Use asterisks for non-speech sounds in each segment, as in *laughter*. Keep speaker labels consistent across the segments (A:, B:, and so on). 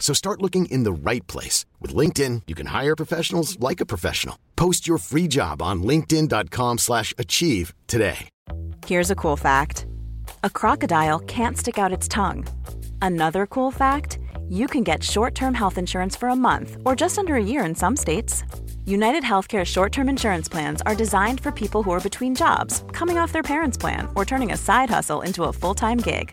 A: So start looking in the right place. With LinkedIn, you can hire professionals like a professional. Post your free job on linkedin.com/achieve slash achieve today.
B: Here's a cool fact a crocodile can't stick out its tongue. Another cool fact you can get short term health insurance for a month or just under a year in some states. United Healthcare short term insurance plans are designed for people who are between jobs, coming off their parents' plan, or turning a side hustle into a full time gig.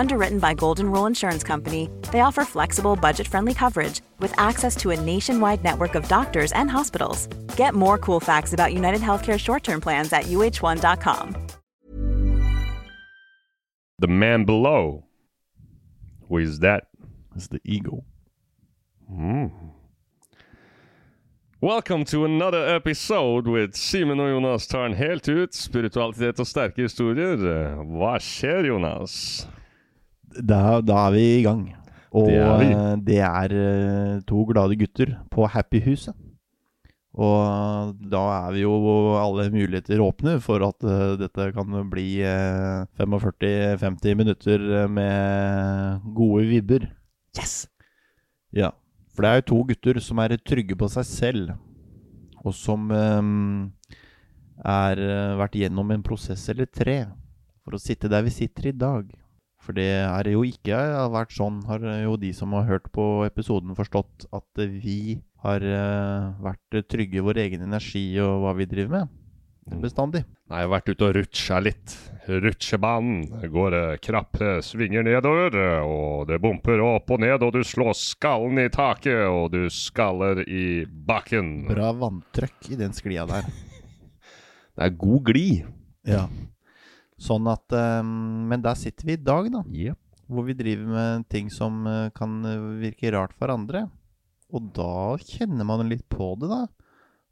B: Underwritten by Golden Rule Insurance Company, they offer flexible, budget friendly coverage with access to a nationwide network of doctors and hospitals. Get more cool facts about United Healthcare short term plans at uh1.com.
C: The man below. Who is that?
D: It's the eagle.
C: Welcome to another episode with Simen og Jonas tar den helt ut. Spiritualitet og sterke historier. Hva skjer, Jonas?
D: Da, da er vi i gang. Og
C: Det
D: det
C: er
D: er,
C: vi.
D: det er eh, to glade gutter på Happyhuset. Og da er vi jo alle muligheter åpne for at eh, dette kan bli eh, 45-50 minutter med gode vibber. Yes! Ja. For det er jo to gutter som er trygge på seg selv, og som eh, er eh, vært gjennom en prosess eller tre for å sitte der vi sitter i dag. For det er jo ikke har vært sånn, har jo de som har hørt på episoden forstått, at vi har eh, vært trygge i vår egen energi og hva vi driver med. Bestandig.
C: Nei, jeg har vært ute og rutsja litt. Rutsjebanen går eh, krappe svinger nedover, eh, og det bumper opp og ned, og du slår skallen i taket, og du skaller i bakken.
D: Bra vanntrykk i den sklia der.
C: Det er god glid.
D: Ja. Sånn at eh, Men der sitter vi i dag, da. Hvor vi driver med ting som eh, kan eh, virke rart for andre. Og da kjenner man litt på det, da.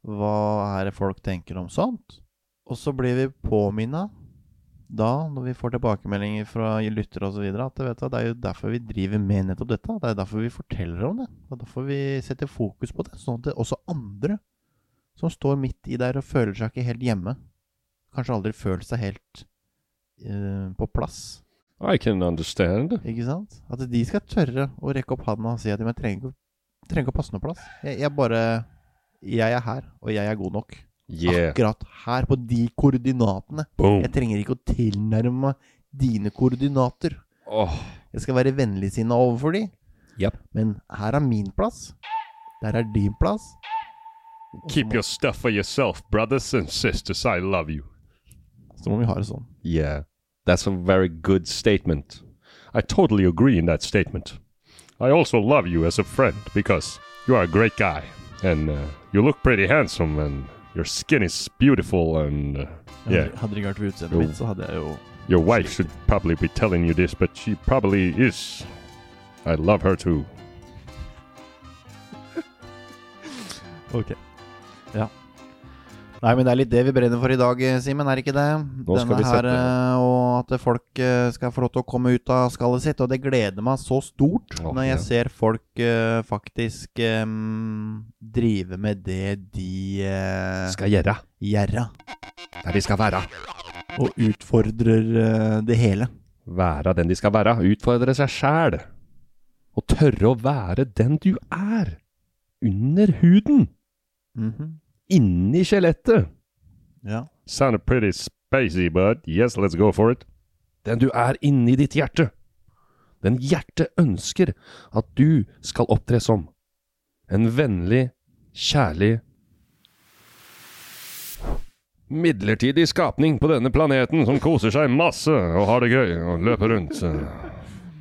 D: Hva er det folk tenker om sånt? Og så blir vi påminna da, når vi får tilbakemeldinger fra lyttere osv., at vet du, det er jo derfor vi driver med nettopp dette. Det er derfor vi forteller om det. Det er derfor vi setter fokus på det. Sånn at det også andre som står midt i der og føler seg ikke helt hjemme, kanskje aldri følt seg helt eh, på plass.
C: I can understand.
D: Ikke sant? At de skal tørre å rekke opp handa og si at «Men jeg trenger ikke, å- trenger ikke å passe noe plass. Jeg, jeg bare Jeg er her, og jeg er god nok.
C: Yeah.
D: Akkurat her, på de koordinatene.
C: Boom.
D: Jeg trenger ikke å tilnærme meg dine koordinater.
C: Åh,
D: Jeg skal være vennligsinna overfor de.
C: Japp.
D: Men her er min plass. Der er din plass.
C: Keep your stuff for yourself, brothers and sisters. I love you.
D: Så må vi ha det sånn.
C: Yeah, that's a very good statement. I totally agree in that statement. I also love you as a friend because you are a great guy and uh, you look pretty handsome and your skin is beautiful and uh, yeah,
D: Hadde det ikke vært for utseendet
C: Jo.
D: mitt, så hadde jeg jo
C: your wife should probably be telling you this, but she probably is. I love her too.
D: Ok. Ja. Nei, men det er litt det vi brenner for i dag, eh, Simen. Er det ikke det?
C: Nå skal
D: Denne
C: vi sette-
D: her, eh, Og at folk eh, skal få lov til å komme ut av skallet sitt. Og det gleder meg så stort
C: Å,
D: når jeg
C: ja.
D: ser folk eh, faktisk eh, drive med det de eh,
C: gjøre
D: gjerra.
C: der de skal være.
D: Og utfordrer eh, det hele.
C: Være den de skal være. Utfordre seg sjæl. Og tørre å være den du er. Under huden.
D: Mhm.
C: Inni skjelettet.
D: Ja.
C: Sounded pretty spacey, but yes, let's go for it. Den du er inni ditt hjerte. Den hjertet ønsker at du skal opptre som. En vennlig, kjærlig midlertidig skapning på denne planeten som koser seg masse og har det gøy og løper rundt.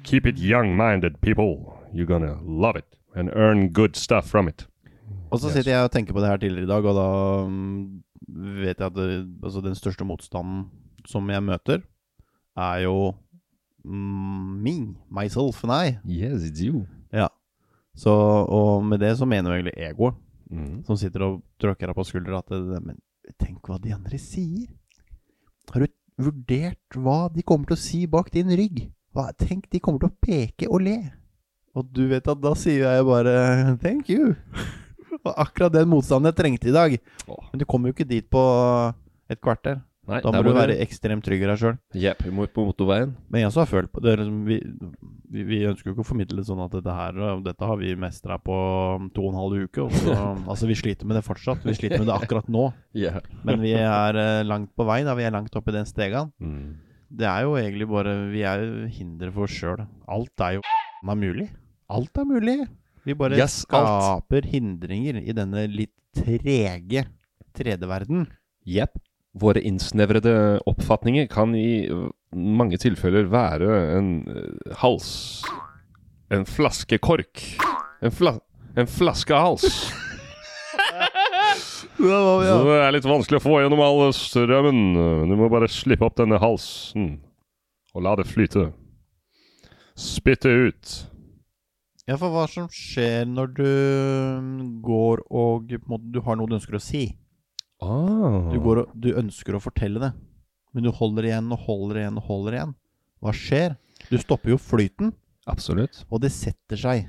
C: Keep it young-minded, people. You're gonna love it and earn good stuff from it.
D: Og så sitter jeg og tenker på det her tidligere i dag, og da mm, vet jeg at det, altså, den største motstanden som jeg møter, er jo mm, me, myself and I.
C: Yes, it's you.
D: Ja. Så, og med det så mener jo egentlig egoet,
C: Mm.
D: som sitter og tråkker deg på skuldra, at det, Men tenk hva de andre sier. Har du vurdert hva de kommer til å si bak din rygg? Hva, tenk, de kommer til å peke og le. Og du vet at da sier jeg bare thank you. Og akkurat den motstanden jeg trengte i dag.
C: Åh.
D: Men du kommer jo ikke dit på et kvarter.
C: Nei,
D: Da må du være ekstremt trygg i deg sjøl.
C: Jepp, vi må ut på motorveien.
D: Men jeg også har følt på det. er Liksom, vi, vi, vi ønsker jo ikke å formidle sånn at dette, her, og dette har vi mestra på um, to og en halv uke.
C: *laughs*
D: Og så, altså, vi sliter med det fortsatt. Vi sliter med det akkurat nå.
C: Yeah.
D: Men vi er eh, langt på vei. da Vi er langt oppi den stegan.
C: Mm.
D: Det er jo egentlig bare Vi er jo hindre for oss sjøl. Alt er jo f***a mulig. Alt er mulig. Vi bare
C: Yes, alt.
D: skaper hindringer i denne litt trege tredje verden.
C: Jepp. Våre innsnevrede oppfatninger kan i ø, mange tilfeller være en ø, hals En flaskekork. En, fla en flaskehals. Så det er litt vanskelig å få gjennom all strømmen. Du må bare slippe opp denne halsen og la det flyte. Spytte ut.
D: Ja, for hva som skjer når du mm, går og på en måte, Du har noe du ønsker å si. Du,
C: Mm.
D: går og, du ønsker å fortelle det, men du holder igjen og holder igjen og holder igjen. Hva skjer? Du stopper jo flyten.
C: Absolutt.
D: Og det setter seg.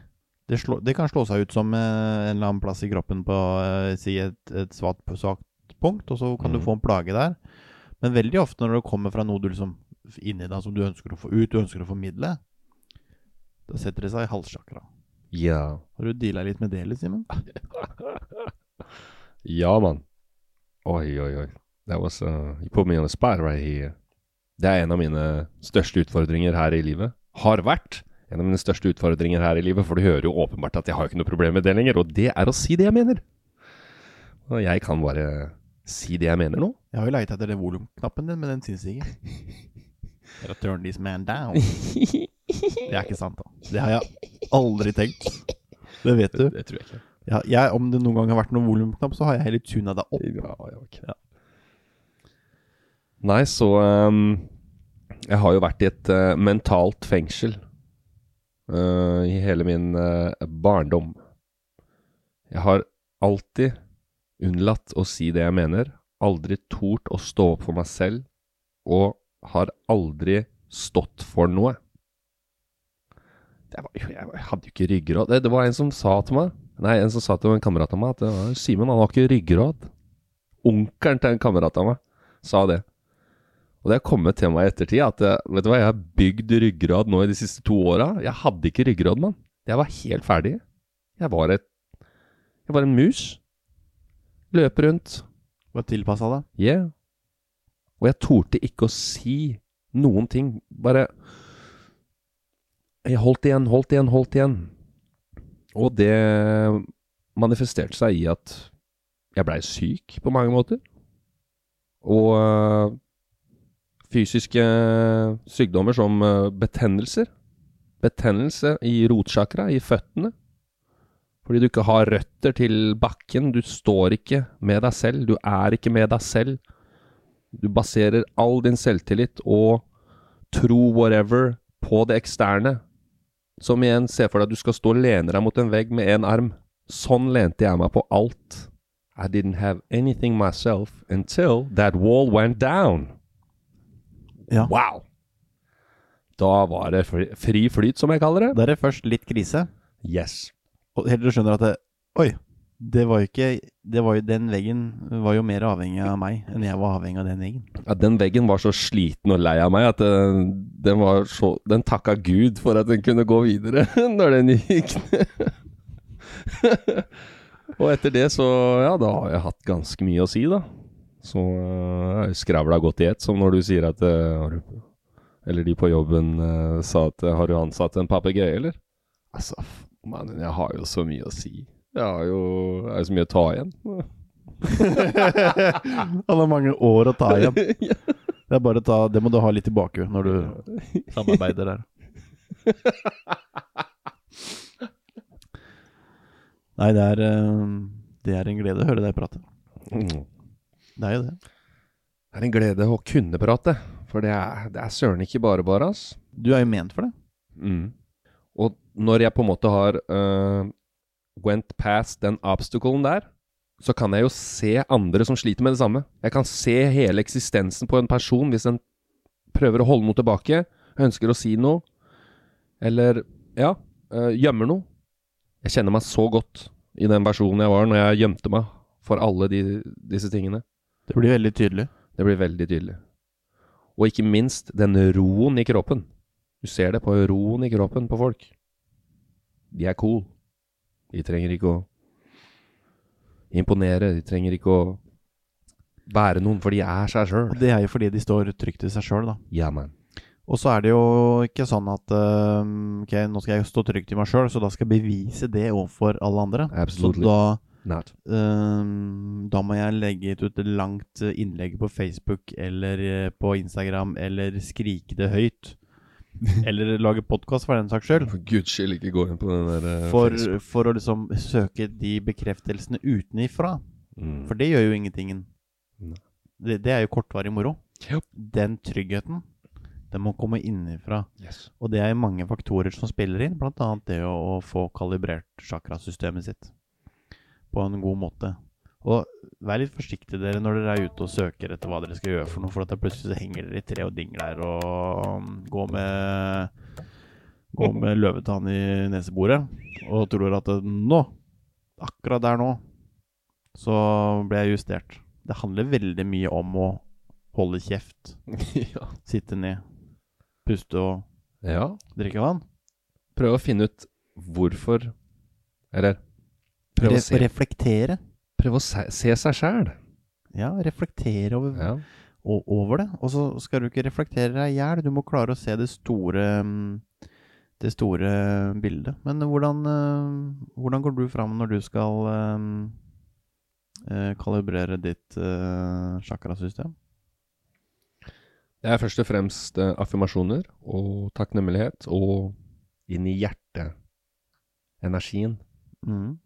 D: Det, slå, det kan slå seg ut som eh, en eller annen plass i kroppen på eh, si et, et svakt, svakt punkt, og så kan
C: Mhm.
D: du få en plage der. Men veldig ofte når det kommer fra noe du liksom inni deg som du ønsker å få ut, du ønsker å formidle, da setter det seg i halssjakra.
C: Ja.
D: Har du deala litt med det, eller, Simen?
C: Ja, mann. Oi, oi, oi. That was, uh, you put me on the spot right here. Det er en av mine største utfordringer her i livet. Har vært en av mine største utfordringer her i livet, for du hører jo åpenbart at jeg har jo ikke noe problem med det lenger, og det er å si det jeg mener. Og jeg kan bare si det jeg mener nå.
D: Jeg har jo leita etter den volumknappen din, men den syns ikke. Eller turn this man down. Det er ikke sant, da. Det har jeg aldri tenkt. Det vet du.
C: Det tror jeg ikke.
D: Ja, jeg, om det noen gang har vært noen volumknapp, så har jeg heller tuna deg opp.
C: Ja, ja, ok. Nei, så ehm, Jeg har jo vært i et eh, mentalt fengsel eh, i hele min eh, barndom. Jeg har alltid unnlatt å si det jeg mener, aldri tort å stå opp for meg selv, og har aldri stått for noe. Det var, jo- jeg hadde jo ikke ryggrad. Det, det var en som sa til meg Nei, en som sa til en kamerat av meg at «Ja, Simen, han har ikke ryggrad. Onkelen til en kamerat av meg sa det. Og det har kommet til meg i ettertid at eh, vet du hva, jeg har bygd ryggrad nå i de siste to åra. Jeg hadde ikke ryggrad, mann. Jeg var helt ferdig. Jeg var et Jeg var en mus. Løp rundt.
D: Bare tilpassa deg.
C: Yeah. Og jeg torde ikke å si noen ting. Bare Jeg holdt igjen, holdt igjen, holdt igjen. Og det manifesterte seg i at jeg blei syk på mange måter. Og øh, fysiske sykdommer som øh, betennelser. Betennelse i rotsjakra, i føttene. Fordi du ikke har røtter til bakken. Du står ikke med deg selv. Du er ikke med deg selv. Du baserer all din selvtillit og tro whatever på det eksterne. Som igjen, se for deg at du skal stå og lene deg mot en vegg med én arm. Sånn lente jeg meg på alt. I didn't have anything myself until that wall went down.
D: Ja.
C: Wow! Da var det fri- fri flyt, som jeg kaller det.
D: Da er det først litt krise,
C: Yes.
D: og helt til du skjønner at det, Oi, det var jo ikke det var jo, Den veggen var jo mer avhengig av meg enn jeg var avhengig av den veggen.
C: Ja, den veggen var så sliten og lei av meg at eh, den, var så, den takka Gud for at den kunne gå videre *laughs* når den gikk ned. *laughs* og etter det så, ja, da har jeg hatt ganske mye å si, da. Så eh, jeg skravla godt i ett, som når du sier at eh, har du, Eller de på jobben eh, sa at eh, har du ansatt en papegøye, eller? Altså, f- mannen, jeg har jo så mye å si. Jeg har jo, jeg har jo så mye å ta igjen.
D: Han har mange år å ta igjen. Det er bare å ta Det må du ha litt i bakhuet når du samarbeider der. Nei, det er eh, Det er en glede å høre deg prate.
C: *laughs* Mm.
D: Det er jo det.
C: Det er en glede å kunne prate, for det er, det er søren ikke bare bare, ass.
D: Du er jo ment for det.
C: Og når jeg på en måte har øh, went past den obstaclen der, så kan jeg jo se andre som sliter med det samme. Jeg kan se hele eksistensen på en person hvis en prøver å holde noe tilbake, ønsker å si noe, eller ja, øh, gjemmer noe. Jeg kjenner meg så godt i den versjonen jeg var når jeg gjemte meg for alle de, disse tingene.
D: Det blir veldig tydelig.
C: Det blir veldig tydelig. Og ikke minst den roen i kroppen. Du ser det på roen i kroppen på folk. De er cool. De trenger ikke å imponere. De trenger ikke å være noen, for de er seg
D: Og
C: sjøl.
D: det er jo fordi de står trygt i seg sjøl, da.
C: Ja, man.
D: Og så er det jo ikke sånn at eh, Ok, nå skal jeg stå trygt i meg sjøl, så da skal jeg bevise det overfor alle andre.
C: Absolutely.
D: Så da
C: Not.
D: Ehm, da må jeg legge ut et langt eh, innlegg på Facebook eller eh, på Instagram, eller skrike det
C: *laughs*
D: høyt. Eller lage podkast, for den saks skyld.
C: For guds skyld, ikke gå inn på den der eh,
D: For,
C: Facebook.
D: for å liksom søke de bekreftelsene utenifra.
C: Mm.
D: For det gjør jo ingentingen.
C: Nei.
D: Det, det er jo kortvarig moro.
C: Japp.
D: Den tryggheten, den må komme innenfra.
C: Yes.
D: Og det er mange faktorer som spiller inn, bl.a. det å, å få kalibrert chakrasystemet sitt på en god måte. Og vær litt forsiktige dere når dere er ute og søker etter hva dere skal gjøre for noe, for at det plutselig så henger dere i tre og dingler og um, går med Gå med løvetann i neseboret og tror at eh, nå, akkurat der nå, så ble jeg justert. Det handler veldig mye om å holde kjeft,
C: *laughs* ja.
D: sitte ned, puste og
C: ja.
D: drikke vann.
C: Prøv å finne ut hvorfor Eller prøv å
D: Re
C: se,
D: reflektere.
C: prøv å se, se seg sjæl.
D: Ja, reflektere over,
C: Ja.
D: o- over det. Og så skal du ikke reflektere deg i hjel, du må klare å se det store mm, det store bildet. Men hvordan, eh, hvordan går du fram når du skal eh, eh, kalibrere ditt eh, chakrasystem?
C: Det er først og fremst eh, affirmasjoner og takknemlighet og inn i hjertet. Energien.
D: Mhm.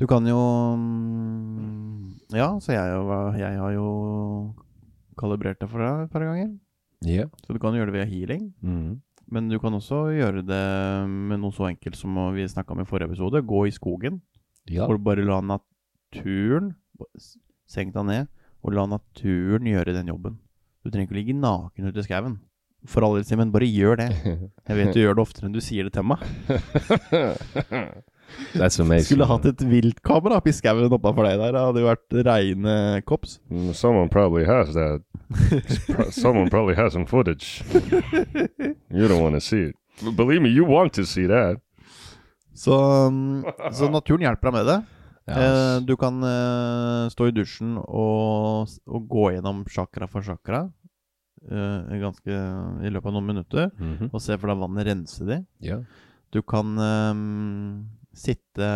D: Du kan jo mm, Ja, så jeg, har- jeg har jo kalibrert det for deg et par ganger.
C: Ja.
D: Så du kan gjøre det via healing.
C: Mm.
D: Men du kan også gjøre det med noe så enkelt som vi snakka om i forrige episode. Gå i skogen.
C: ja.
D: Og bare la naturen Senk deg ned, og la naturen gjøre den jobben. Du trenger ikke ligge naken ute i skauen. For all del, Simen, bare gjør det. Jeg vet du gjør det oftere enn du sier det til meg.
C: That's amazing.
D: Skulle hatt et viltkamera oppi skauen oppafor deg der. Det hadde jo vært reine kops.
C: Mm, Someone probably has *laughs* that. Pro- Someone probably has some footage. You don't want to see it. B- Believe me, you want to see that.
D: Så, um, så naturen hjelper deg med det. Eh,
C: Yes.
D: du kan eh, stå i dusjen og, s- og gå gjennom chakra for chakra eh, ganske, i løpet av noen minutter.
C: Mhm.
D: Og se for deg vannet rense de.
C: Ja.
D: Du kan eh, sitte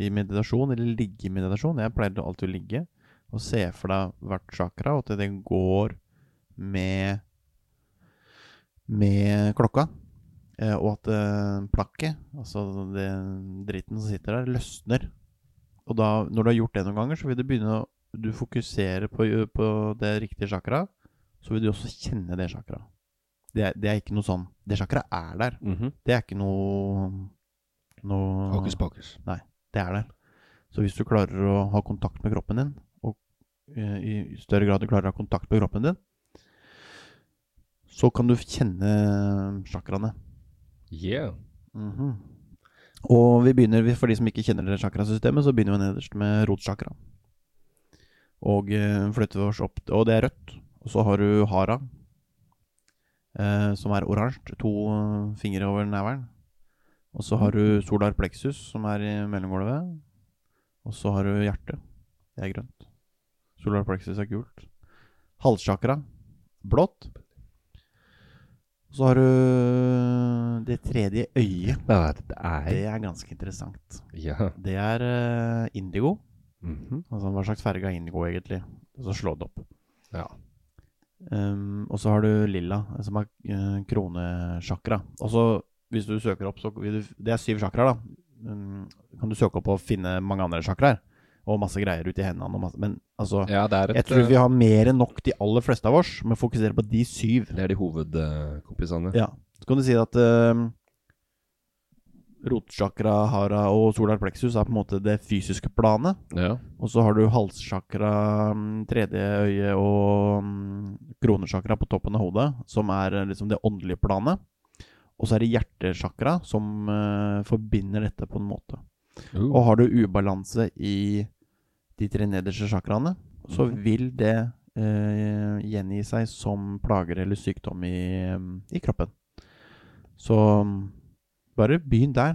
D: i meditasjon, eller ligge i meditasjon. Jeg pleier alltid å ligge. Og se for deg hvert chakra, og at det går med med klokka. Eh, og at eh, plakket, altså det dritten som sitter der, løsner. Og da, når du har gjort det noen ganger, så vil du begynne å Du fokuserer på, på det riktige chakra, så vil du også kjenne det chakra. Det er, det er ikke noe sånn Det chakra er der.
C: Mhm.
D: Det er ikke noe noe
C: Hokus pokus.
D: det er der. Så hvis du klarer å ha kontakt med kroppen din, og eh, i i større grad du klarer å ha kontakt med kroppen din, så kan du kjenne eh, chakraene.
C: Yeah.
D: Mhm. Og vi begynner, for de som ikke kjenner det chakrasystemet, så begynner vi nederst med rotchakra. Og eh, flytter vi oss opp Og det er rødt. Og så har du hara, eh, som er oransje. To eh, fingre over neveren. Og så har du solar plexus, som er i mellomgulvet. Og så har du hjertet. Det er grønt. Solar plexus er gult. Halschakra, blått. Og så har du det tredje øyet.
C: Det er
D: Det er ganske interessant.
C: Ja. Mm-hmm.
D: Det er eh, indigo.
E: Mhm.
D: Altså hva slags ferge er indigo, egentlig? Og så slå det opp.
E: Ja.
D: Ehm, og så har du lilla, som er eh, kronesjakra. Og så, hvis du søker opp, så vil du Det er syv sjakraer, da. Ehm, kan du søke opp og finne mange andre sjakraer? Og masse greier uti hendene og masse Men altså
C: Ja, det er, et,
D: Jeg tror
C: eh,
D: vi har mer enn nok, de aller fleste av oss, med å fokusere på de syv.
C: eh, det er de hovedkompisene.
D: Ja. Så kan du si at uh, rotsjakra, hara og solar plexus er på en måte det fysiske planet.
C: Ja.
D: Og så har du halssjakra, mm, tredje øye og mm, kronesjakra på toppen av hodet, som er eh, liksom det åndelige planet. Og så er det hjertesjakra, som eh, forbinder dette på en måte.
C: Uh.
D: Og har du ubalanse i de tre nederste sjakraene, så
C: Mhm.
D: vil det eh, gjengi seg som plager eller sykdom i, eh, i kroppen. Så mm, bare begynn der.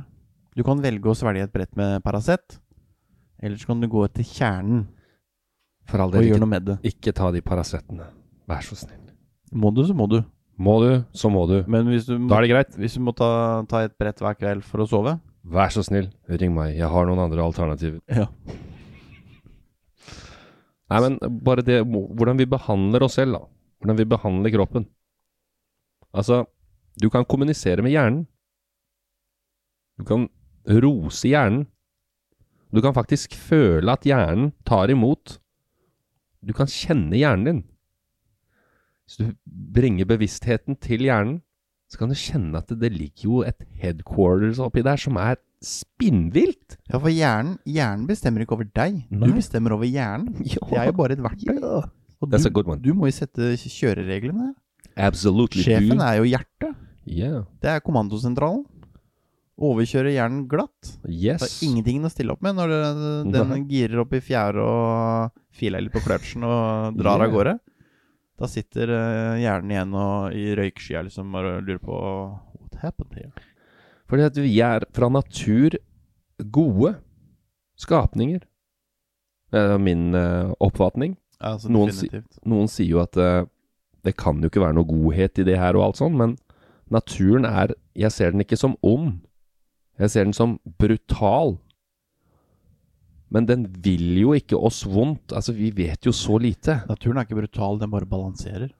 D: Du kan velge å svelge et brett med Paracet, eller så kan du gå til kjernen
C: For all
D: og
C: del,
D: gjøre
C: ikke,
D: noe med det.
C: ikke ta de Paracetene. Vær så snill.
D: Må du, så må du.
C: Må du, så må du.
D: Men hvis du,
C: Da er det greit.
D: hvis du må ta, ta et brett hver kveld for å sove
C: Vær så snill, ring meg. Jeg har noen andre alternativer.
D: ja.
C: Nei, men bare det Hvordan vi behandler oss selv, da. Hvordan vi behandler kroppen. Altså, du kan kommunisere med hjernen. Du kan rose hjernen. Du kan faktisk føle at hjernen tar imot. Du kan kjenne hjernen din. Hvis du bringer bevisstheten til hjernen, så kan du kjenne at det ligger jo et headquarters oppi der som er
D: *laughs*
C: spinnvilt.
D: ja, for hjernen, hjernen bestemmer ikke over deg.
C: Nei.
D: Du bestemmer over
C: *laughs*
D: hjernen.
C: Ja.
D: Det er jo bare et verktøy. Og
C: That's
D: du,
C: a good one.
D: du må jo sette kj- kjørereglene.
C: Absolutely.
D: Sjefen er jo hjertet.
C: Yeah.
D: Det er kommandosentralen. Overkjøre hjernen glatt. Det
C: Yes.
D: er ingenting å stille opp med når det- den girer opp i fjære og filer litt på kløtsjen og drar av
C: Yeah.
D: gårde. Da sitter eh, hjernen igjen og i røykskya liksom og lurer på What happened here?
C: Fordi at vi er fra natur gode skapninger. Det er min eh, oppfatning.
D: Altså,
C: Noen si-
D: definitivt.
C: Noen sier jo at eh, det kan jo ikke være noe godhet i det her og alt sånn, men naturen er Jeg ser den ikke som ond. Jeg ser den som brutal. Men den vil jo ikke oss vondt. Altså, vi vet jo så lite.
D: Naturen er ikke brutal, den bare balanserer.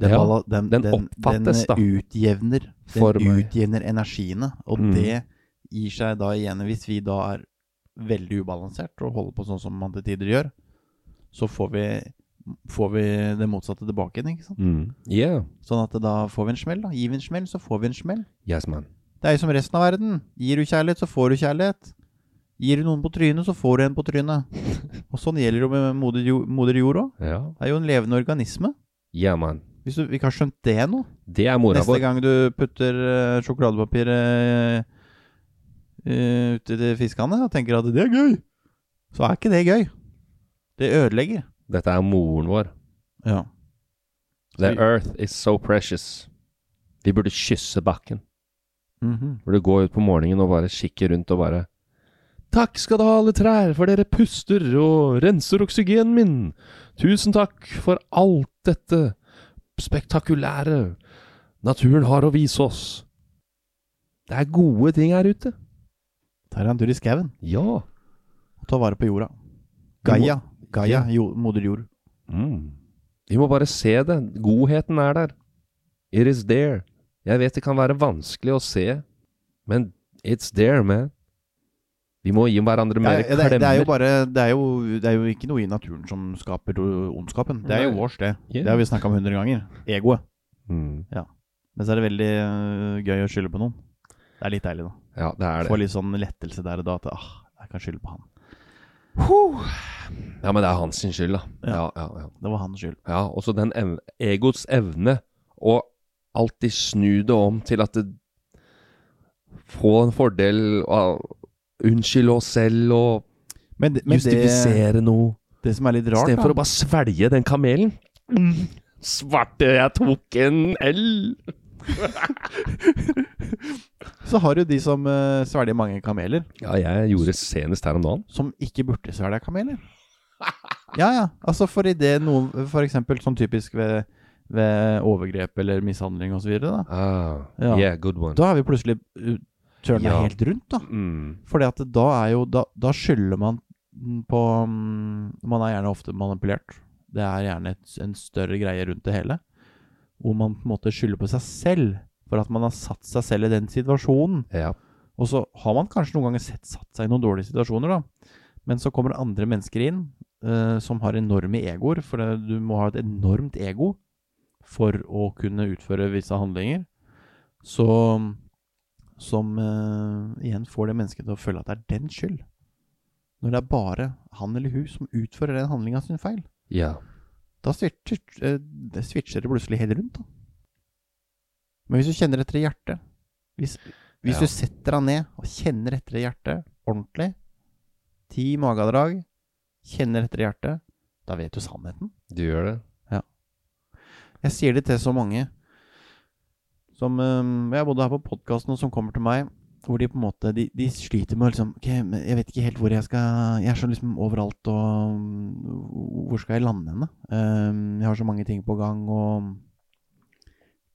D: Den,
C: Ja,
D: bala den,
C: den
D: den, den
C: oppfattes, da.
D: utjevner Den
C: For meg.
D: utjevner energiene, og
C: Mm.
D: det gir seg da igjen hvis vi da er veldig ubalansert og holder på sånn som man til tider gjør, så får vi, får vi det motsatte tilbake igjen, ikke sant?
C: Mm. Yeah.
D: Sånn at da får vi en smell, da. Gir vi en smell, så får vi en smell.
C: Yes, man.
D: Det er jo som resten av verden. Gir du kjærlighet, så får du kjærlighet. Gir du noen på trynet, så får du en på
C: *laughs*
D: trynet. Og sånn gjelder det jo med moder jo- moder jord òg.
C: Ja.
D: Det er jo en levende organisme.
C: Yeah, man.
D: Hvis du ikke har skjønt det nå
C: Det er mora
D: Neste
C: vår.
D: gang du putter eh, sjokoladepapir eh, eh, uti de fiskene og tenker at det er gøy, så er ikke det gøy. Det ødelegger.
C: Dette er moren vår.
D: Ja.
C: The earth is so precious. Vi burde kysse bakken.
D: Mhm.
C: Burde gå ut på morgenen og bare kikke rundt og bare Takk skal du ha, alle trær, for dere puster og renser oksygenen min. Tusen takk for alt dette spektakulære naturen har å vise oss. Det er gode ting her ute.
D: Ta deg en tur i skauen
C: Ja.
D: og ta vare på jorda. Gaia. Gaia,
C: Ja.
D: jo, moder jord.
C: Mm. Vi må bare se det. Godheten er der. It is there. Jeg vet det kan være vanskelig å se, men it's there, man. Vi må gi hverandre
D: Ja,
C: mer
D: ja, det, det er jo
C: klemmer.
D: bare det er jo, det er jo ikke noe i naturen som skaper o- ondskapen. Det er jo
C: Nei.
D: vårs, det.
C: Ja.
D: Det har vi snakka om hundre ganger. Egoet.
C: Mm.
D: Men så er det veldig øh, gøy å skylde på noen. Det er litt deilig, da.
C: Ja, det er
D: Få
C: det.
D: litt sånn lettelse der og da. At ah, jeg kan skylde på han.
C: Ja, men det er hans sin skyld, da. Ja, ja, ja.
D: Det var hans skyld.
C: ja og så den ev egots evne å alltid snu det om til at det Få en fordel av Unnskylde oss selv og
D: Men, det- men det,
C: justifisere noe.
D: det som er litt rart,
C: Istedenfor å
D: da,
C: bare svelge den kamelen. Svarte, jeg tok en L.
D: så har du de som eh, svelger mange kameler,
C: Ja, jeg gjorde senest her om dagen.
D: som ikke burde svelge kameler. Ja, ja. Altså for i det noen For eksempel sånn typisk ved, ved overgrep eller mishandling osv. Da.
C: Ah,
D: Ja.
C: Yeah, good one.
D: da har vi plutselig uh, tørna
C: Ja.
D: helt rundt, da.
C: mm.
D: Fordi at da er jo Da, da skylder man på mm, Man er gjerne ofte manipulert. Det er gjerne et, en større greie rundt det hele. Hvor man på en måte skylder på seg selv for at man har satt seg selv i den situasjonen.
C: Ja.
D: Og så har man kanskje noen ganger sett satt seg i noen dårlige situasjoner, da. Men så kommer det andre mennesker inn eh, som har enorme egoer, for det, du må ha et enormt ego for å kunne utføre visse handlinger. Så som eh, igjen får det mennesket til å føle at det er dens skyld. Når det er bare han eller hun som utfører den handlinga sin feil.
C: ja.
D: Da switcher, eh, det switcher det plutselig helt rundt, da. Men hvis du kjenner etter i hjertet Hvis, hvis
C: Ja.
D: du setter deg ned og kjenner etter i hjertet ordentlig, ti magedrag, kjenner etter i hjertet, da vet du sannheten.
C: Du gjør det.
D: Jeg sier det til så mange som eh, Jeg både her på podkasten og som kommer til meg, hvor de på en måte De, de sliter med å liksom Ok, men jeg vet ikke helt hvor jeg skal Jeg er så liksom overalt, og mm, Hvor skal jeg lande henne? Eh, jeg har så mange ting på gang, og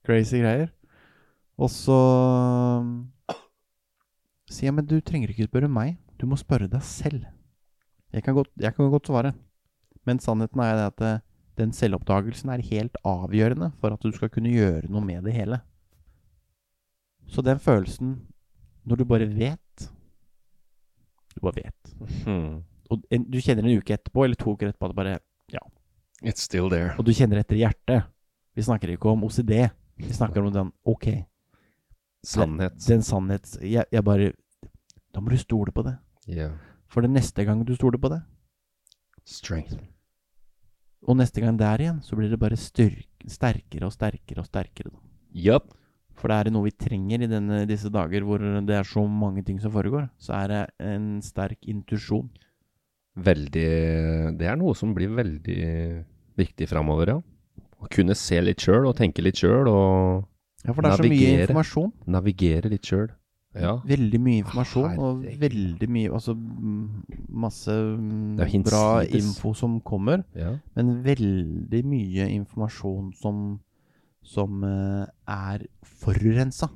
D: Crazy greier. Og så mm, sier jeg, men du trenger ikke spørre meg. Du må spørre deg selv. Jeg kan godt, jeg kan godt svare. Men sannheten er det at eh, den selvoppdagelsen er helt avgjørende for at du skal kunne gjøre noe med det hele. Så den følelsen når du bare vet Du bare vet.
C: Hmm.
D: Og en, du kjenner en uke etterpå, eller to uker etterpå, at det bare
C: It's still there.
D: Og du kjenner etter i hjertet. Vi snakker ikke om OCD. Vi snakker om den OK,
C: Sannhet.
D: den sannhets... Jeg, jeg bare Da må du stole på det.
C: Ja.
D: For det neste gang du stoler på det,
C: Strength.
D: og neste gang der igjen, så blir det bare styrk, sterkere og sterkere og sterkere. Da.
C: Yup.
D: For det er noe vi trenger i denne, disse dager hvor det er så mange ting som foregår. Så er det en sterk intuisjon.
C: Veldig Det er noe som blir veldig viktig framover, ja. Å kunne se litt sjøl og tenke litt sjøl og
D: Ja, for det er så mye
C: Navigere.
D: informasjon. Ah,
C: navigere litt sjøl. Ja.
D: Veldig mye informasjon,
C: Herregud.
D: og veldig mye Altså mm, masse mm,
C: Det er hinsides.
D: bra info som kommer,
C: ja.
D: men veldig mye informasjon som som eh, er forurensa.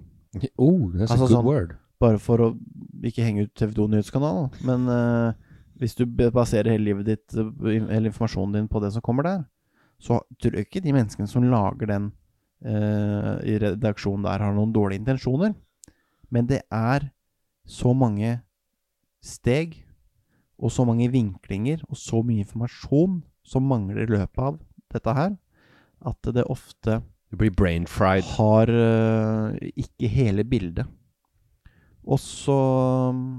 C: Oh, that's
D: Altså
C: a good
D: sånn-
C: word.
D: Bare for å ikke henge ut TV 2-nyhetskanalen, men eh, hvis du be- baserer hele livet ditt eh, in- eller informasjonen din på det som kommer der, så tror jeg ikke de menneskene som lager den eh, i redaksjonen der, har noen dårlige intensjoner. Men det er så mange steg og så mange vinklinger og så mye informasjon som mangler i løpet av dette her, at det ofte
C: Du blir brain fried.
D: har eh, ikke hele bildet. Og så mm,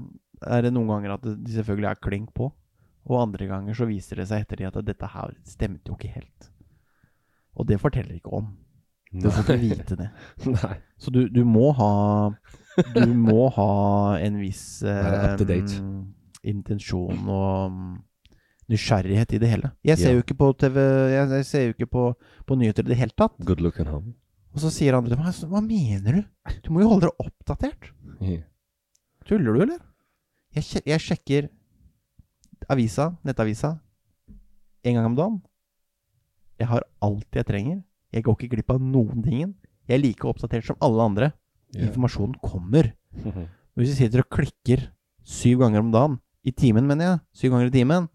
D: er det noen ganger at de selvfølgelig er klink på, og andre ganger så viser det seg etter de at dette her stemte jo ikke helt. Og det forteller ikke om. Du får ikke vite det. *laughs*
C: Nei.
D: Så du, du må ha Du må ha en viss
C: *laughs* Være up to date.
D: mm, intensjon og mm, nysgjerrighet i det hele. Jeg ser
C: Ja.
D: jo ikke på TV Jeg, jeg ser jo ikke på, på nyheter i det hele tatt.
C: Good looking home.
D: Og så sier andre hva, hva mener du? Du må jo holde deg oppdatert. Tuller du, eller? Jeg, sje- jeg sjekker avisa, nettavisa, en gang om dagen. Jeg har alt jeg trenger. Jeg går ikke glipp av noen tingen. Jeg er like oppdatert som alle andre. Informasjonen kommer. Og Hvis du sitter og klikker syv ganger om dagen, i timen mener jeg, syv ganger i timen,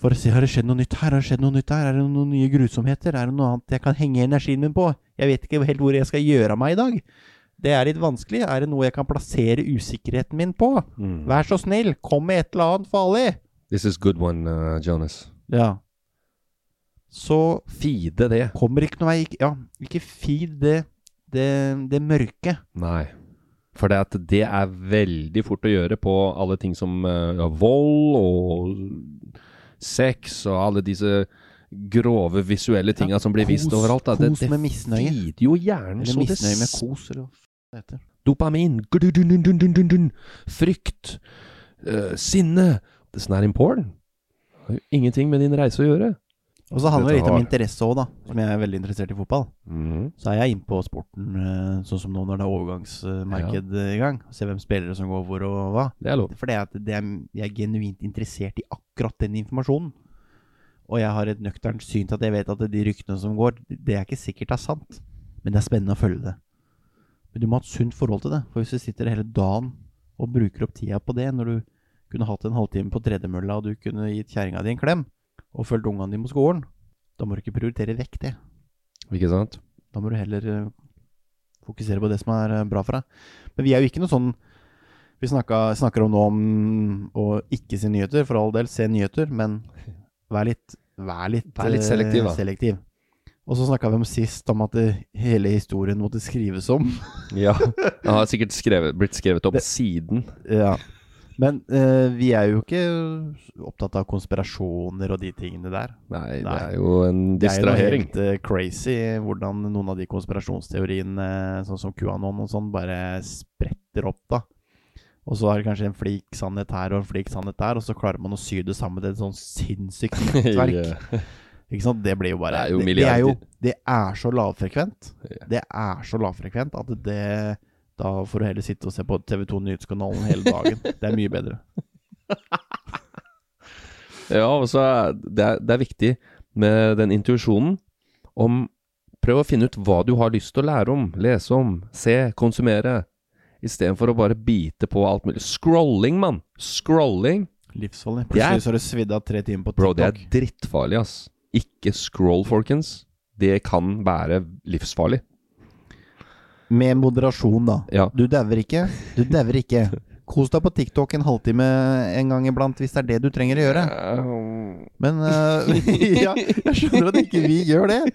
D: for å se har det skjedd noe nytt her, har det skjedd noe nytt her, er det noen nye grusomheter, er det noe annet jeg kan henge energien min på, jeg vet ikke helt hvor jeg skal gjøre av meg i dag. Det er litt vanskelig, er det noe jeg kan plassere usikkerheten min på?
C: Mm.
D: Vær så snill, kom med et eller annet farlig!
C: This is good one, uh, Jonas.
D: Ja. Så
C: Fide det.
D: kommer ikke noe vei, ikke- ja, ikke feed det, det, det mørke.
C: Nei. For det, at det er veldig fort å gjøre på alle ting som eh, ja, vold og sex og alle disse grove visuelle tinga som blir vist
D: kos-
C: overalt. Da. Det,
D: kos med misnøye.
C: Flider jo hjernen
D: Eller
C: så det
D: misnøye med
C: s-
D: kos, eller hva faen det heter.
C: Dopamin. gludundundundundundund, Frykt. eh, sinne. Det er in porn. Det har jo ingenting med din reise å gjøre.
D: Og så handler det
C: Dette
D: litt om
C: har-
D: interesse òg, da. Som jeg er veldig interessert i fotball. Så er jeg inne på sporten eh, sånn som nå når det er overgangsmarked eh, i gang. Se hvem spillere som går hvor og hva.
C: Det er lov.
D: For det er at det er, jeg er genuint interessert i akkurat den informasjonen. Og jeg har et nøkternt syn til at jeg vet at de ryktene som går, det er ikke sikkert er sant. Men det er spennende å følge det. Men du må ha et sunt forhold til det. For hvis du sitter hele dagen og bruker opp tida på det, når du kunne hatt en halvtime på tredemølla, og du kunne gitt kjerringa di en klem, og fulgt ungene dine på skolen, da må du ikke prioritere vekk det.
C: Ikke sant?
D: Da må du heller eh, fokusere på det som er eh, bra for deg. Men vi er jo ikke noe sånn Vi snakka, snakker om nå om å ikke se nyheter, for all del, se nyheter, men vær litt Vær litt,
C: Vær litt
D: eh,
C: selektiv, da.
D: selektiv. Og så snakka vi om sist om at det, hele historien måtte skrives om.
C: *laughs* Ja. Den har sikkert skrevet, blitt skrevet om
D: Det-
C: siden.
D: Ja. Men eh, vi er jo ikke opptatt av konspirasjoner og de tingene der.
C: Nei, det
D: Nei.
C: er jo en distrahering.
D: Det er jo helt eh, crazy hvordan noen av de konspirasjonsteoriene, eh, sånn som QAnon og sånn, bare spretter opp, da. Og så er det kanskje en flik sannhet her og en flik sannhet der, og så klarer man å sy det sammen til et sånn
C: *laughs*
D: sinnssykt nettverk. Ikke sant? Det blir jo bare
C: Det er jo
D: det, er jo
C: milliarder.
D: Det er så lavfrekvent. Det er så lavfrekvent at det Da får du heller sitte og se på TV2 Nyhetskanalen hele dagen.
C: *laughs*
D: Det er mye bedre.
C: Ja, og så er det, er, det er viktig med den intuisjonen om Prøv å finne ut hva du har lyst til å lære om, lese om, se, konsumere. Istedenfor å bare bite på alt mulig. Scrolling, mann! Scrolling.
D: Livsfarlig.
C: Det er-
D: Plutselig så har du svidd av tre timer på
C: Bro, det
D: TikTok.
C: er drittfarlig, ass. Ikke scroll, folkens. Det kan være livsfarlig.
D: Med moderasjon, da.
C: Ja.
D: Du dauer ikke. Du dauer ikke. Kos deg på TikTok en halvtime en gang iblant, hvis det er det du trenger å gjøre. Men eh, *laughs* Ja, jeg skjønner at ikke vi gjør det.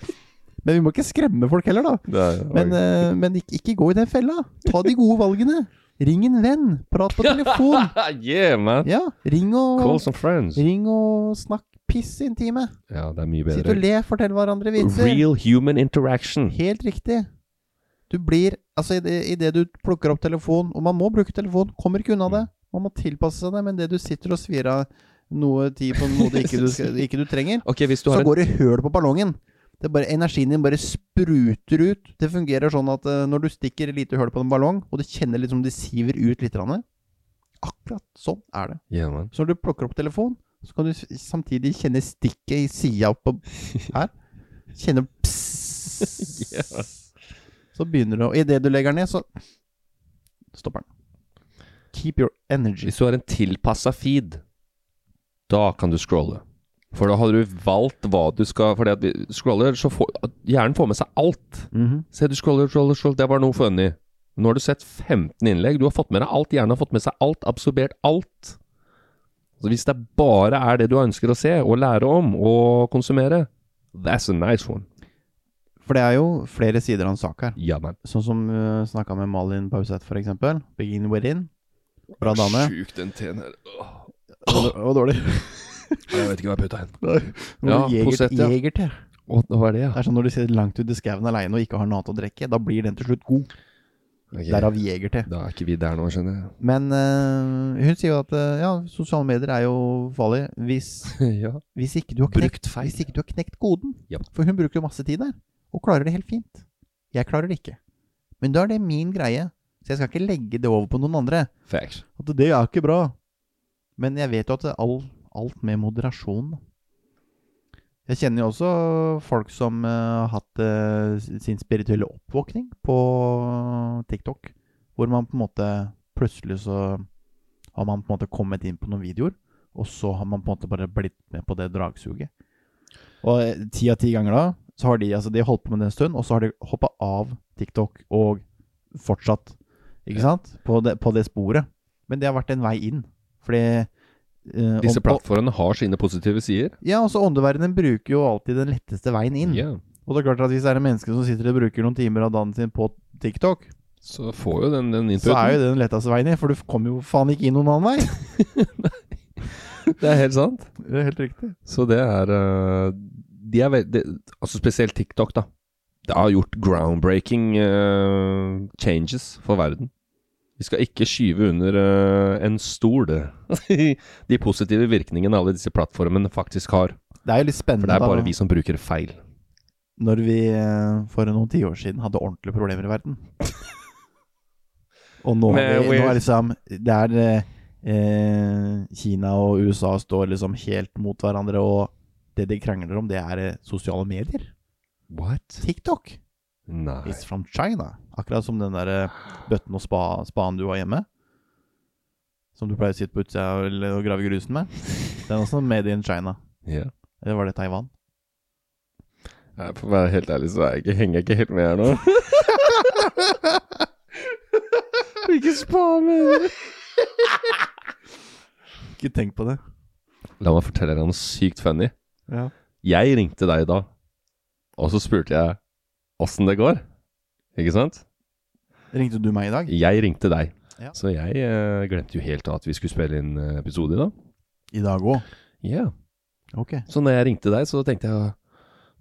D: Men vi må ikke skremme folk heller, da. Men, eh, men ikke, ikke gå i den fella. Ta de gode valgene. Ring en venn. Prat på
C: *laughs*
D: telefon.
C: Ah, yeah, man.
D: Ja, ring
C: Call
D: og,
C: some friends.
D: ring og snakk piss i en time.
C: Ja, det er mye
D: Sitt og
C: bedre.
D: le, fortell hverandre vitser.
C: Real human interaction.
D: Helt riktig. Du blir Altså, idet du plukker opp telefon Og man må bruke telefon, kommer ikke unna det. Man må tilpasse seg det, men det du sitter og svir av noe tid på noe du ikke, du skal, ikke du trenger,
C: Ok, hvis *laughs* du
D: så
C: har en
D: går det høl på ballongen. Det er bare, energien din bare spruter ut. Det fungerer sånn at eh, når du stikker et lite høl på en ballong, og du kjenner liksom det siver ut litt grann, Akkurat sånn er det.
C: yeah, man.
D: Så når du plukker opp telefonen, så kan du s- samtidig kjenne stikket i
C: *laughs*
D: sida på her. Kjenne pss. *laughs* Så begynner du, og idet du legger den ned, så stopper den. Keep your energy.
C: Hvis du har en tilpassa feed, da kan du scrolle. For da har du valgt hva du skal Fordi at vi scroller, så får hjernen får med seg alt. Se, du scroller, scroller, scroller, det var noe funny. Nå har du sett 15 innlegg, du har fått med deg alt. Hjernen har fått med seg alt, absorbert alt. Så hvis det bare er det du ønsker å se, og lære om, og konsumere, that's a nice one.
D: For det er jo flere sider av en sak her.
C: Ja, man.
D: Sånn som uh, snakka med Malin Bauseth, for eksempel. Begin within. Bra dame.
C: Sjukt den teen her.
D: Og, dår- og
C: *laughs*
D: dårlig.
C: Jeg vet ikke hva jeg putta inn.
D: Ja,
C: Ja,
D: jeger,
C: Posett, ja.
D: jeger til.
C: Å, hva er det,
D: Det er sånn når du sitter langt ute i skauen aleine og ikke har noe annet å drikke. Da blir den til slutt god.
C: ja?
D: Derav
C: Ok,
D: jeger til.
C: Da er ikke vi der nå, skjønner jeg.
D: Men eh, hun sier jo at eh, ja, sosiale medier er jo farlig hvis,
C: *laughs* ja.
D: hvis, ikke du har knekt, hvis ikke du har knekt koden.
C: Ja.
D: For hun bruker jo masse tid der, og klarer det helt fint. Jeg klarer det ikke. Men da er det min greie, så jeg skal ikke legge det over på noen andre.
C: Facts.
D: At det er ikke bra. Men jeg vet jo at det er all, alt med moderasjon. da. Jeg kjenner jo også folk som eh, har hatt eh, sin spirituelle oppvåkning på TikTok. Hvor man på en måte plutselig så har man på en måte kommet inn på noen videoer. Og så har man på en måte bare blitt med på det dragsuget. Og eh, ti av ti ganger da, så har de altså de har holdt på med det en stund, og så har de hoppa av TikTok og fortsatt. Ikke sant? På det, på det sporet. Men det har vært en vei inn. Fordi eh,
C: Disse
D: om- og-
C: plattformene har sine positive sider.
D: ja, altså åndeverdenen bruker jo alltid den letteste veien inn.
C: Ja.
D: Og det er klart at hvis det er en menneske som sitter og bruker noen timer av dagen sin på TikTok,
C: Så får jo den, den
D: så er
C: inputen.
D: jo det den letteste veien inn, for du kommer jo faen ikke inn noen annen vei. *laughs*
C: Det er helt sant.
D: Det er helt riktig.
C: Så det er eh, De er veldig Altså spesielt TikTok, da. Det har gjort groundbreaking eh, changes for verden. Vi skal ikke skyve under eh, en stol det. *laughs* de positive virkningene alle disse plattformene faktisk har.
D: Det er jo litt
C: For
D: spennende
C: det er bare
D: da,
C: vi som bruker feil.
D: når vi eh, for noen tiår siden hadde ordentlige problemer i verden. og nå,
C: Men
D: er vi, nå
C: we're-
D: er liksom Det er eh, eh, Kina og USA står liksom helt mot hverandre, og det de krangler om, det er eh, sosiale medier.
C: What?
D: TikTok.
C: Nei.
D: It's from China. Akkurat som den der eh, bøtten og spa, spaen du har hjemme. som du pleier å sitte på utsida og, og grave grusen med. Den er også made in China.
C: Ja.
D: Eller var det Taiwan?
C: Nei, For å være helt ærlig, så er jeg ikke, henger jeg ikke helt med her nå.
D: *laughs*
C: ikke spar meg!
D: Ikke tenk på det.
C: La meg fortelle deg noe sykt funny.
D: Ja.
C: Jeg ringte deg da, og så spurte jeg åssen det går. Ikke sant?
D: Ringte du meg i dag?
C: Jeg ringte deg.
D: Ja.
C: Så jeg eh, glemte jo helt at vi skulle spille inn eh, episode i dag.
D: I dag òg.
C: Ja.
D: Ok.
C: Så når jeg ringte deg, så tenkte jeg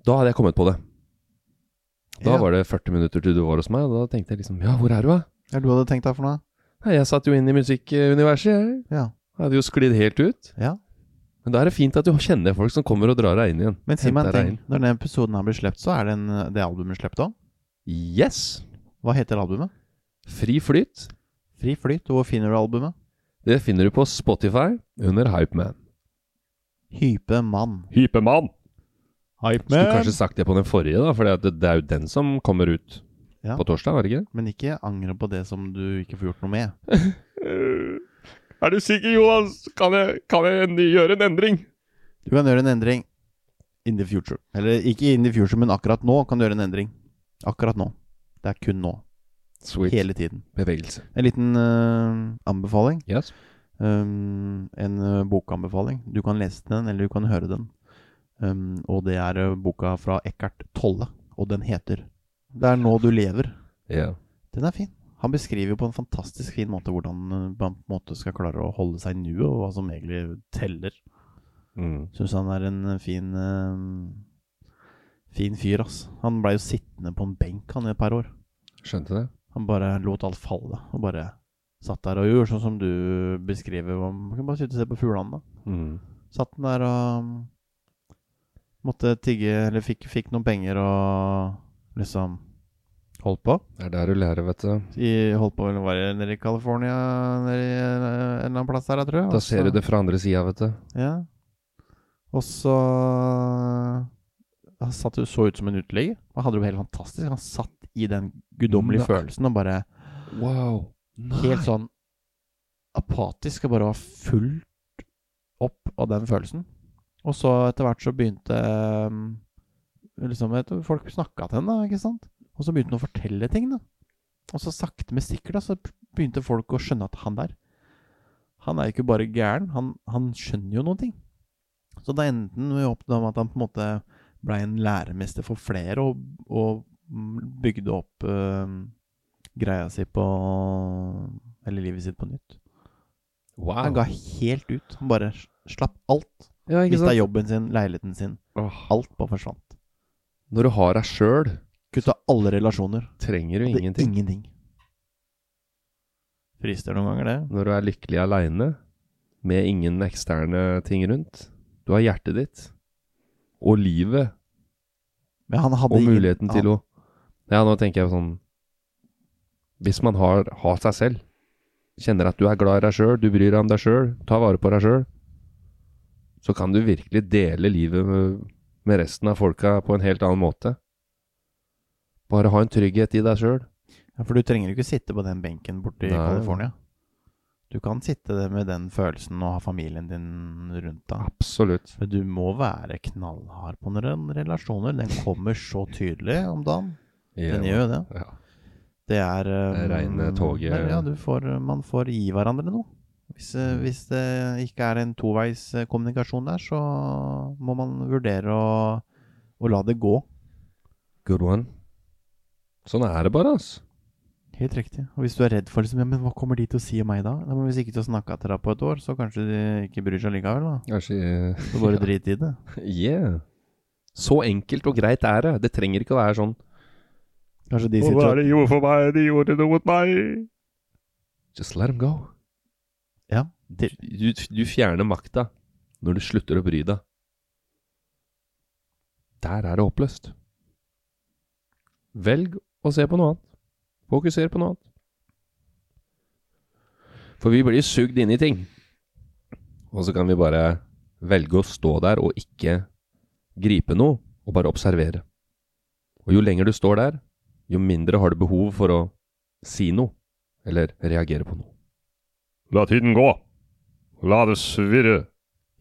C: Da hadde jeg kommet på det. Da
D: Ja.
C: var det 40 minutter til du var hos meg, og da tenkte jeg liksom Ja, hvor er du, da?
D: Hva er det du hadde tenkt deg for noe?
C: Nei, jeg satt jo inn i musikkuniverset, jeg.
D: Ja.
C: Hadde jo sklidd helt ut.
D: ja.
C: Men da er det fint at du kjenner folk som kommer og drar deg inn igjen.
D: Men si meg en
C: Henter deg
D: ting. Når denne episoden her blir sluppet, så er den, det albumet sluppet òg?
C: inn. Yes!
D: Hva heter albumet?
C: Fri flyt.
D: Fri flyt. Og hvor finner du albumet?
C: Det finner du på Spotify under Hypeman.
D: Hype mann.
E: Hypemann!
D: Hype
C: Skulle kanskje sagt det på den forrige, da, for det, det er jo den som kommer ut
D: Ja.
C: på torsdag, var det ikke? det?
D: Men ikke angre på det som du ikke får gjort noe med.
E: Eh, Er du sikker, Jonas? Kan jeg, kan jeg gjøre en endring?
D: Du kan gjøre en endring in the future. Eller ikke in the future, men akkurat nå kan du gjøre en endring. Akkurat nå. Det er kun nå.
C: Sweet.
D: Hele tiden.
C: bevegelse.
D: En liten øh, anbefaling.
C: Yes.
D: Um, en øh, bokanbefaling. Du kan lese den, eller du kan høre den. Um, og det er øh, boka fra Eckhart Tolle, og den heter 'Det er nå du lever'.
C: Ja.
D: Den er fin. Han beskriver jo på en fantastisk fin måte hvordan øh, man på en måte skal klare å holde seg i nuet, og hva som egentlig teller.
C: Mm.
D: Syns han er en eh, fin eh, Fin fyr, ass. Han blei jo sittende på en benk han i et par år.
C: Skjønte det.
D: Han bare lot alt falle, og bare satt der og gjorde sånn som du beskriver. Man kan bare sitte og se på fuglene, da.
C: Mm.
D: Satt han der og mm, måtte tigge, eller fikk, fikk noen penger og liksom Holdt på?
C: Det er der du lærer, vet du.
D: I, holdt på eller var det nede i California, nede i eh, en eller annen plass der, jeg tror altså. jeg.
C: Da ser du det fra andre sida, vet du.
D: Ja. Og så Han satt jo så ut som en uteligger. Han hadde det jo helt fantastisk. Han satt i den guddommelige
C: Nei.
D: følelsen og bare
C: Wow. Nei.
D: helt sånn apatisk og bare var fullt opp av den følelsen. Og så etter hvert så begynte um, liksom, vet du, Folk snakka til henne, da, ikke sant? Og så begynte han å fortelle ting, da. Og så sakte, men sikkert da, så begynte folk å skjønne at han der Han er jo ikke bare gæren, han, han skjønner jo noen ting. Så da endte han jo opp med at han på en måte blei en læremester for flere, og, og mm, bygde opp um, greia si på Eller livet sitt på nytt. Han ga
C: Wow.
D: helt ut. Han bare s- slapp alt.
C: Ja, ikke
D: Mista
C: sant?
D: jobben sin, leiligheten sin.
C: Åh.
D: Alt bare forsvant.
C: Når du har deg sjøl,
D: Kutta alle relasjoner.
C: trenger du
D: Hadde
C: ingenting.
D: ingenting. Frister noen ganger, det.
C: Når du er lykkelig aleine, med ingen eksterne ting rundt. Du har hjertet ditt. Og livet.
D: Men han hadde
C: Og
D: ingen-
C: muligheten til å Ja, nå tenker jeg sånn Hvis man har, har seg selv, kjenner at du er glad i deg sjøl, du bryr deg om deg sjøl, tar vare på deg sjøl, så kan du virkelig dele livet med, med resten av folka på en helt annen måte. Bare ha en trygghet i deg sjøl.
D: Ja, For du trenger jo ikke sitte på den benken borte i
C: Nei.
D: California. Du kan sitte der med den følelsen og ha familien din rundt deg.
C: Absolutt.
D: Men du må være knallhard på noen relasjoner. Den kommer så tydelig om dagen. Den gjør jo det.
C: Ja.
D: Det er eh,
C: Det reine toget.
D: Men ja, du får, man får gi hverandre noe. Hvis,
C: Mm.
D: eh, hvis det ikke er en toveis eh, kommunikasjon der, så må man vurdere å, å la det gå.
C: Good one. Sånn er det bare, altså.
D: Helt riktig. Og hvis du er redd for liksom, ja, men hva kommer de til å si om meg da? Nei, men hvis ikke du har snakka til deg på et år, så kanskje de ikke bryr seg likevel. da.
C: Kanskje *laughs* eh,
D: Så bare drit i det.
C: Yeah. Så enkelt og greit er det. Det trenger ikke å være sånn
D: Kanskje de
E: Hva er
D: sitter og
E: det de gjorde for meg? De gjorde noe mot meg.
C: Just let them go.
D: Ja. De,
C: du, du fjerner makta når du slutter å bry deg. Der er det oppløst. Velg å se på noe annet. Fokuser på noe annet. For vi blir sugd inn i ting. Og så kan vi bare velge å stå der og ikke gripe noe, og bare observere. Og jo lenger du står der, jo mindre har du behov for å si noe, eller reagere på noe.
E: La tiden gå. La det svirre.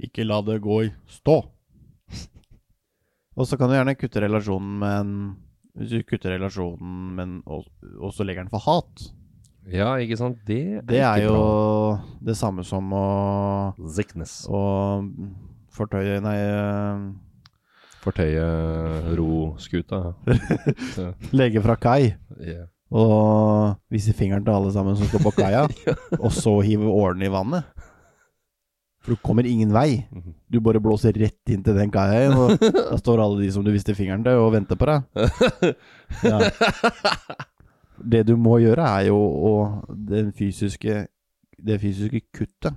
D: Ikke la det gå i stå. og så kan du gjerne kutte relasjonen med en Hvis du kutter relasjonen, men og, og så legger den for hat,
C: Ja, ikke sant? Det er,
D: det er
C: ikke
D: jo
C: bra.
D: det samme som å,
C: Sickness.
D: å fortøye Nei, øh,
C: Fortøye roskuta.
D: *laughs* legge fra kai.
C: Yeah.
D: Og vise fingeren til alle sammen som står på kaia, og så hive årene i vannet. For du kommer ingen vei. Du bare blåser rett inn til den kaia igjen, og da står alle de som du viste fingeren til, og venter på deg. Ja. Det du må gjøre, er jo å den fysiske, Det fysiske kuttet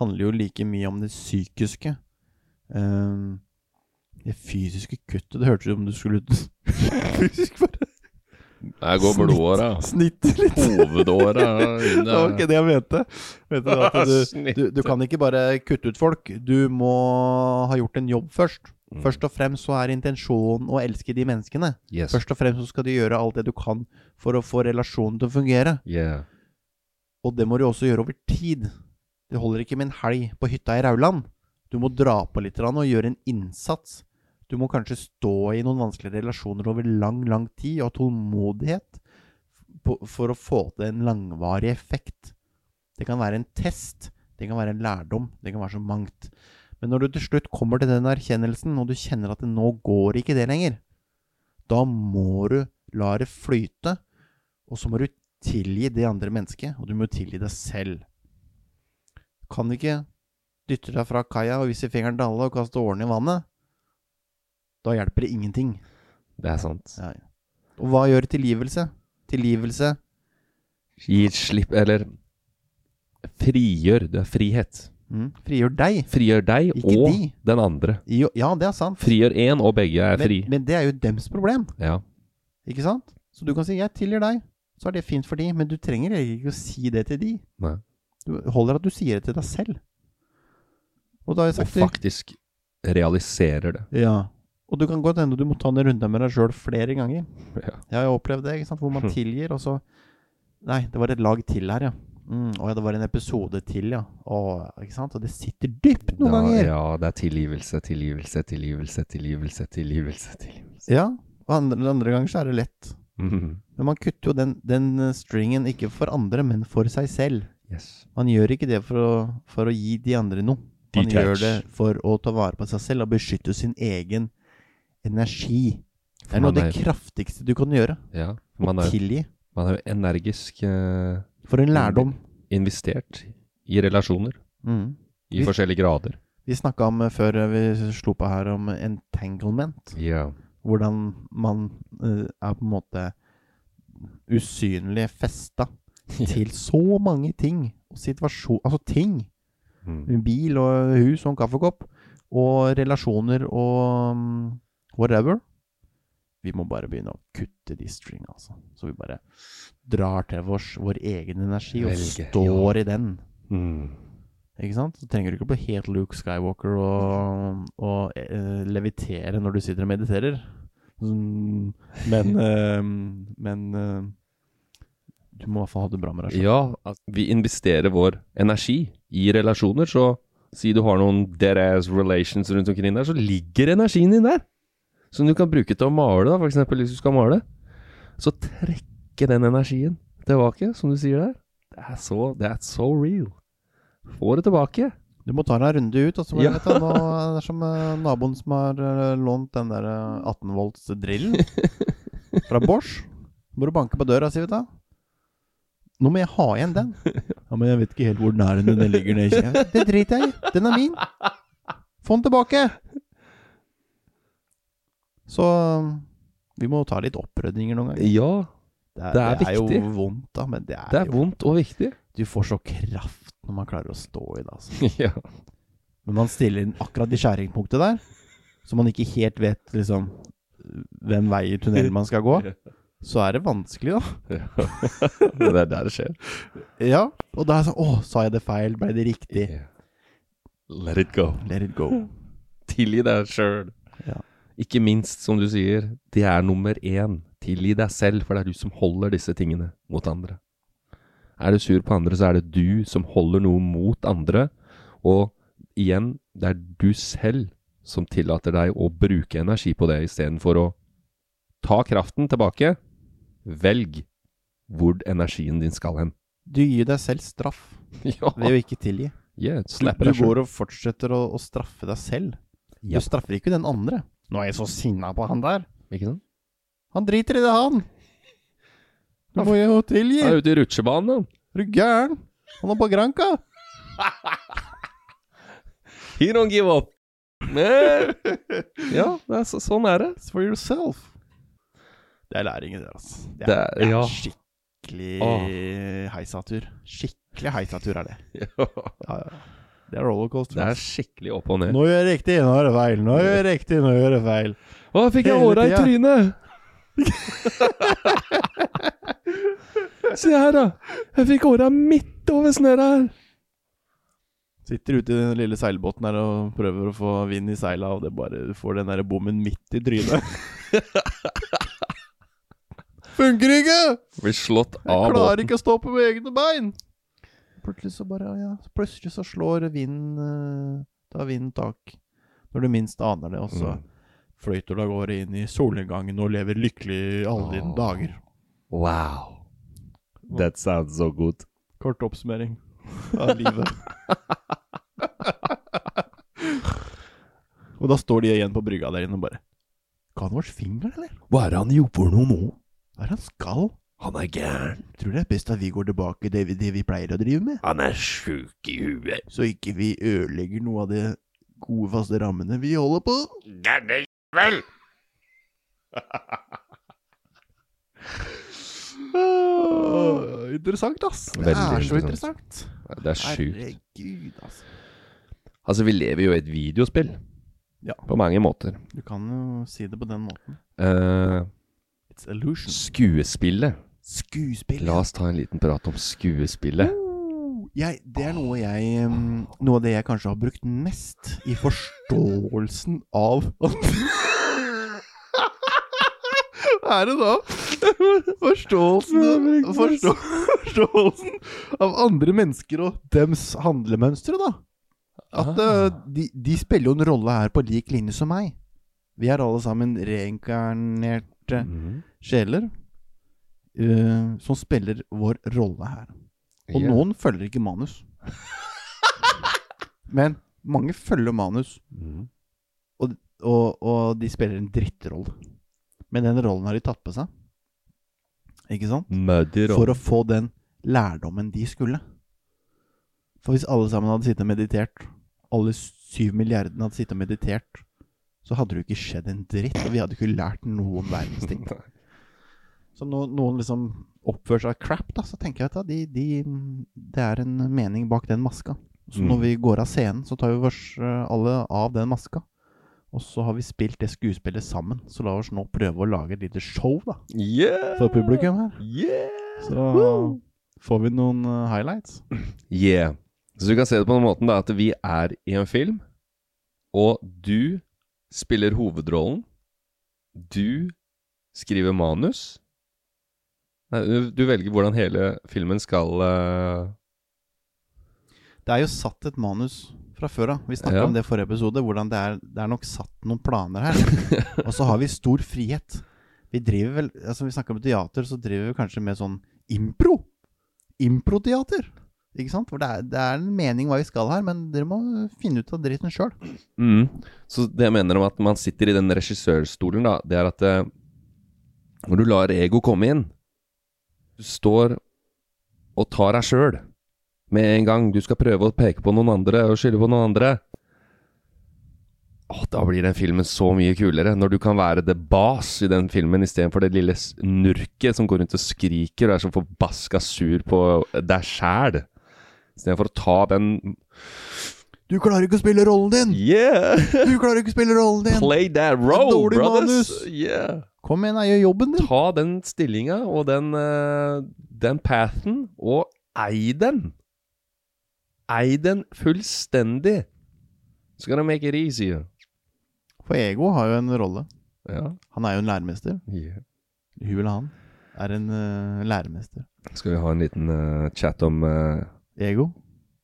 D: handler jo like mye om det psykiske. Ehm, det fysiske kuttet Det hørtes ut som du skulle *laughs* fysisk bare
C: Der går *laughs* blodåra.
D: Snitte litt.
C: Hovedåra
D: *laughs* Det var ikke det jeg mente. Vet du, at du, du, du kan ikke bare kutte ut folk. Du må ha gjort en jobb først. Først og fremst så er intensjonen å elske de menneskene.
C: Yes.
D: Først og fremst så skal du gjøre alt det du kan for å få relasjonen til å fungere.
C: Yeah.
D: Og det må du også gjøre over tid. Det holder ikke med en helg på hytta i Rauland. Du må dra på litt grann og gjøre en innsats. Du må kanskje stå i noen vanskelige relasjoner over lang, lang tid, og ha tålmodighet på- for å få til en langvarig effekt. Det kan være en test, det kan være en lærdom, det kan være så mangt. Men når du til slutt kommer til den erkjennelsen, og du kjenner at det nå går ikke det lenger, da må du la det flyte, og så må du tilgi det andre mennesket, og du må tilgi deg selv. Kan ikke dytte deg fra kaia og vise fingeren til alle og kaste årene i vannet. Da hjelper det ingenting.
C: Det er sant.
D: Ja, ja. Og hva gjør tilgivelse? Tilgivelse
C: Gi et slipp, eller frigjør. Det er frihet.
D: mm, frigjør deg.
C: Frigjør deg
D: Ikke
C: og
D: de.
C: den andre.
D: Jo, ja, det er sant.
C: Frigjør én, og begge er fri.
D: Men, men det er jo dems problem,
C: Ja.
D: ikke sant? Så du kan si 'jeg tilgir deg', så er det fint for de, men du trenger egentlig ikke å si det til de.
C: Nei.
D: Du holder at du sier det til deg selv. Og da har jeg
C: Og
D: sagt til-
C: faktisk realiserer det.
D: Ja. Og du kan godt hende du må ta en runde med deg sjøl flere ganger.
C: Ja. Hm.
D: Jeg har jo opplevd det, ikke sant? hvor man tilgir, og så Nei, det var et lag til her, ja. Mm, å ja, det var en episode til, ja. Å, ikke sant? Og det sitter dypt noen
C: Da-
D: ganger.
C: Ja, det er tilgivelse, tilgivelse, tilgivelse, tilgivelse, tilgivelse. tilgivelse.
D: Ja. Og andre, andre ganger så er det lett.
C: Mhm.
D: Men man kutter jo den, den eh, stringen ikke for andre, men for seg selv.
C: Yes.
D: Man gjør ikke det for å, for å gi de andre noe. Man
E: Detach.
D: gjør det for å ta vare på seg selv og beskytte sin egen energi. Det er noe av
C: man
D: det kraftigste du kan gjøre.
C: Ja. for
D: Å
C: Man er,
D: tilgi.
C: man er jo energisk eh,
D: For en lærdom.
C: investert i relasjoner
D: Mm.
C: i forskjellige grader.
D: Vi snakka om eh, før vi slo på her, om entanglement.
C: Ja.
D: Hvordan man eh, er på en måte usynlig festa
C: *laughs*
D: til så mange ting. og Situasjon Altså ting.
C: Mm.
D: En Bil og hus og en kaffekopp. Og relasjoner og mm, whatever. Vi må bare begynne å kutte de stringa, altså. Så vi bare drar til oss vår egen energi og
C: Velge, ja.
D: står i den.
C: Mm.
D: Ikke sant? Så trenger du ikke bli helt Luke Skywalker og, og eh, levitere når du sitter og mediterer. Mm, Men eh, Men eh, du må i hvert fall ha det bra med deg selv.
C: Ja, at vi investerer vår energi i relasjoner, så si du har noen dead ass relations rundt omkring der, så ligger energien din der. Som du kan bruke til å male, da, f.eks. hvis du skal male. Så trekke den energien tilbake, som du sier der. Det er så, det er so real. Får det tilbake.
D: Du må ta deg en runde ut. Og så må
C: Ja.
D: du vite, nå, er det er som eh, naboen som har eh, lånt den der eh, 18 volts drillen fra Bosch. Må du banke på døra, sier vi da. Nå må jeg ha igjen den. *laughs* Ja, Men jeg vet ikke helt hvor den er. Den ligger nede Det driter jeg i. Den er min. Få den tilbake. Så vi må ta litt opprydninger noen ganger.
C: Ja,
D: Det
C: det er
D: Det er
C: viktig.
D: jo vondt, da, men det er,
C: det er
D: jo
C: vondt og viktig.
D: Du får så kraft når man klarer å stå i det, altså.
C: *laughs* ja.
D: Men man stiller inn akkurat i skjæringspunktet der, så man ikke helt vet liksom hvem vei i tunnelen man skal gå.
C: *laughs*
D: Så er det vanskelig, da.
C: Det er der det skjer.
D: Ja, og da er det sånn Å, sa jeg det feil? Ble det riktig?
C: Let it go.
D: Let it go.
C: Tilgi deg sjøl.
D: Ja.
C: Ikke minst, som du sier, det er nummer én. Tilgi deg selv, for det er du som holder disse tingene mot andre. Er du sur på andre, så er det du som holder noe mot andre. Og igjen, det er du selv som tillater deg å bruke energi på det, istedenfor å ta kraften tilbake. Velg hvor energien din skal hen. *laughs*
D: Du gir deg selv straff
C: Ja,
D: ved å ikke tilgi.
C: yeah,
D: Du,
C: slapper
D: du
C: deg sjøl.
D: går og fortsetter å, å straffe deg selv.
C: Ja.
D: Du straffer ikke den andre. Nå er jeg så sinna på han der.
C: Ikke sant?
D: Han driter i det, han. Du må jo tilgi.
C: Jeg er ute i rutsjebanen, da.
D: Er du gæren? Han er på Granca.
C: He don't give up. Eh, *laughs* ja, det er så, sånn er det.
D: It's for yourself. Det er læringen der, altså. Det
C: Det
D: er,
C: er-
D: det er
C: ja.
D: skikkelig
C: Åh.
D: heisatur. Skikkelig heisatur
C: *laughs*
D: er det.
C: Det
D: Ja, ja. Det er rollercoaster. altså.
C: er
D: ass.
C: skikkelig opp og ned.
D: Nå gjør jeg riktig, nå gjør jeg feil. Nå gjør jeg riktig, nå gjør jeg feil.
C: Å, fikk jeg
D: Hele
C: åra i
D: tida.
C: trynet! *laughs* Se her, da. Jeg fikk åra midt over snøra her.
D: Sitter ute i den lille seilbåten her og prøver å få vind i seila, og det bare du får den der bommen midt i
C: *laughs*
D: trynet. Funker ikke!
C: Blir slått
D: Jeg
C: av
D: klarer
C: båten.
D: ikke å stå på egne bein! Plutselig så bare ja, Plutselig så slår vinden eh, Tar vinden tak når du minst aner det, og så
C: Mm.
D: fløyter du av gårde inn i solnedgangen og lever lykkelig alle dine
C: Åh.
D: dager.
C: Wow. That sounds so good.
D: Kort oppsummering av livet. og da står de igjen på brygga der inne og bare Ga han vår finger, eller?
C: Hva er det han gjorde for noe nå?
D: Hva er det han skal?
C: Han er gæren.
D: Tror det er best at vi går tilbake til det vi, det vi pleier å drive med,
C: Han er sjuk i huet.
D: så ikke vi ødelegger noe av det gode, faste rammene vi holder på. *laughs* Åh, interessant, ass. det
C: Veldig
D: er så
C: interessant.
D: interessant.
C: Det er sjukt.
D: Herregud, ass.
C: Altså, vi lever jo i et videospill.
D: Ja.
C: På mange måter.
D: Du kan jo si det på den måten.
C: Eh,
D: It's illusion.
C: skuespillet.
D: Skuespill.
C: La oss ta en liten prat om skuespillet.
D: Jeg, det er noe jeg um, Noe av det jeg kanskje har brukt mest i forståelsen av *laughs* Er det da forståelsen av, forstå, forståelsen av andre mennesker og dems handlemønstre, da? At
C: Ah.
D: eh, de, de spiller jo en rolle her på lik linje som meg. Vi er alle sammen reinkarnerte
C: Mhm.
D: sjeler eh, som spiller vår rolle her. Og
C: Yeah.
D: noen følger ikke manus. Men mange følger manus,
C: Mhm.
D: og, og de spiller en drittrolle. Men den rollen har de tatt på seg. Ikke sant?
C: Muddy roll.
D: For å få den lærdommen de skulle. For hvis alle sammen hadde sittet og meditert, alle syv milliardene hadde sittet og meditert, så hadde det jo ikke skjedd en dritt, og vi hadde ikke lært noen verdens *laughs* ting. Så når noen liksom oppfører seg crap, da, så tenker jeg at de, de, det er en mening bak den maska. Så
C: Mm.
D: når vi går av scenen, så tar vi oss eh, alle av den maska. Og så har vi spilt det skuespillet sammen, så la oss nå prøve å lage et lite show da,
C: Yeah!
D: for publikum her.
C: Yeah!
D: Så
C: Woo!
D: får vi noen eh, highlights.
C: Yeah. Så du kan se det på den måten da, at vi er i en film, og du spiller hovedrollen. Du skriver manus. Nei, du- du velger hvordan hele filmen skal eh,
D: Det er jo satt et manus fra før av. Vi snakka
C: Ja.
D: om det i forrige episode, hvordan det er, det er nok satt noen planer her.
C: *laughs*
D: og så har vi stor frihet. Vi driver vel Altså, vi snakker om teater, så driver vi kanskje med sånn impro. Improteater. Ikke sant? For det er, det er en mening hva vi skal her, men dere må finne ut av dritten sjøl.
C: Mm. Så det jeg mener om at man sitter i den regissørstolen, da, det er at eh, når du lar ego komme inn Du står og tar deg sjøl med en gang. Du skal prøve å peke på noen andre og skylde på noen andre. Åh, da blir den filmen så mye kulere, når du kan være the boss i den filmen istedenfor det lille s- nurket som går rundt og skriker og er så forbaska sur på deg sjæl. Istedenfor å ta den
D: Du klarer ikke å spille rollen din!
C: Yeah!
D: Du klarer ikke å spille rollen din!
C: Play that role,
D: Dårlig
C: brothers!
D: manus.
C: Yeah.
D: Kom igjen, da, gjør jobben din!
C: Ta den stillinga og den, eh, den pathen, og ei den. Ei den fullstendig. It's gonna make it easier.
D: For Ego har jo en rolle.
C: Ja.
D: Han er jo en læremester.
C: Yeah.
D: Hun eller han er en eh, læremester.
C: Skal vi ha en liten eh, chat om eh,
D: Ego.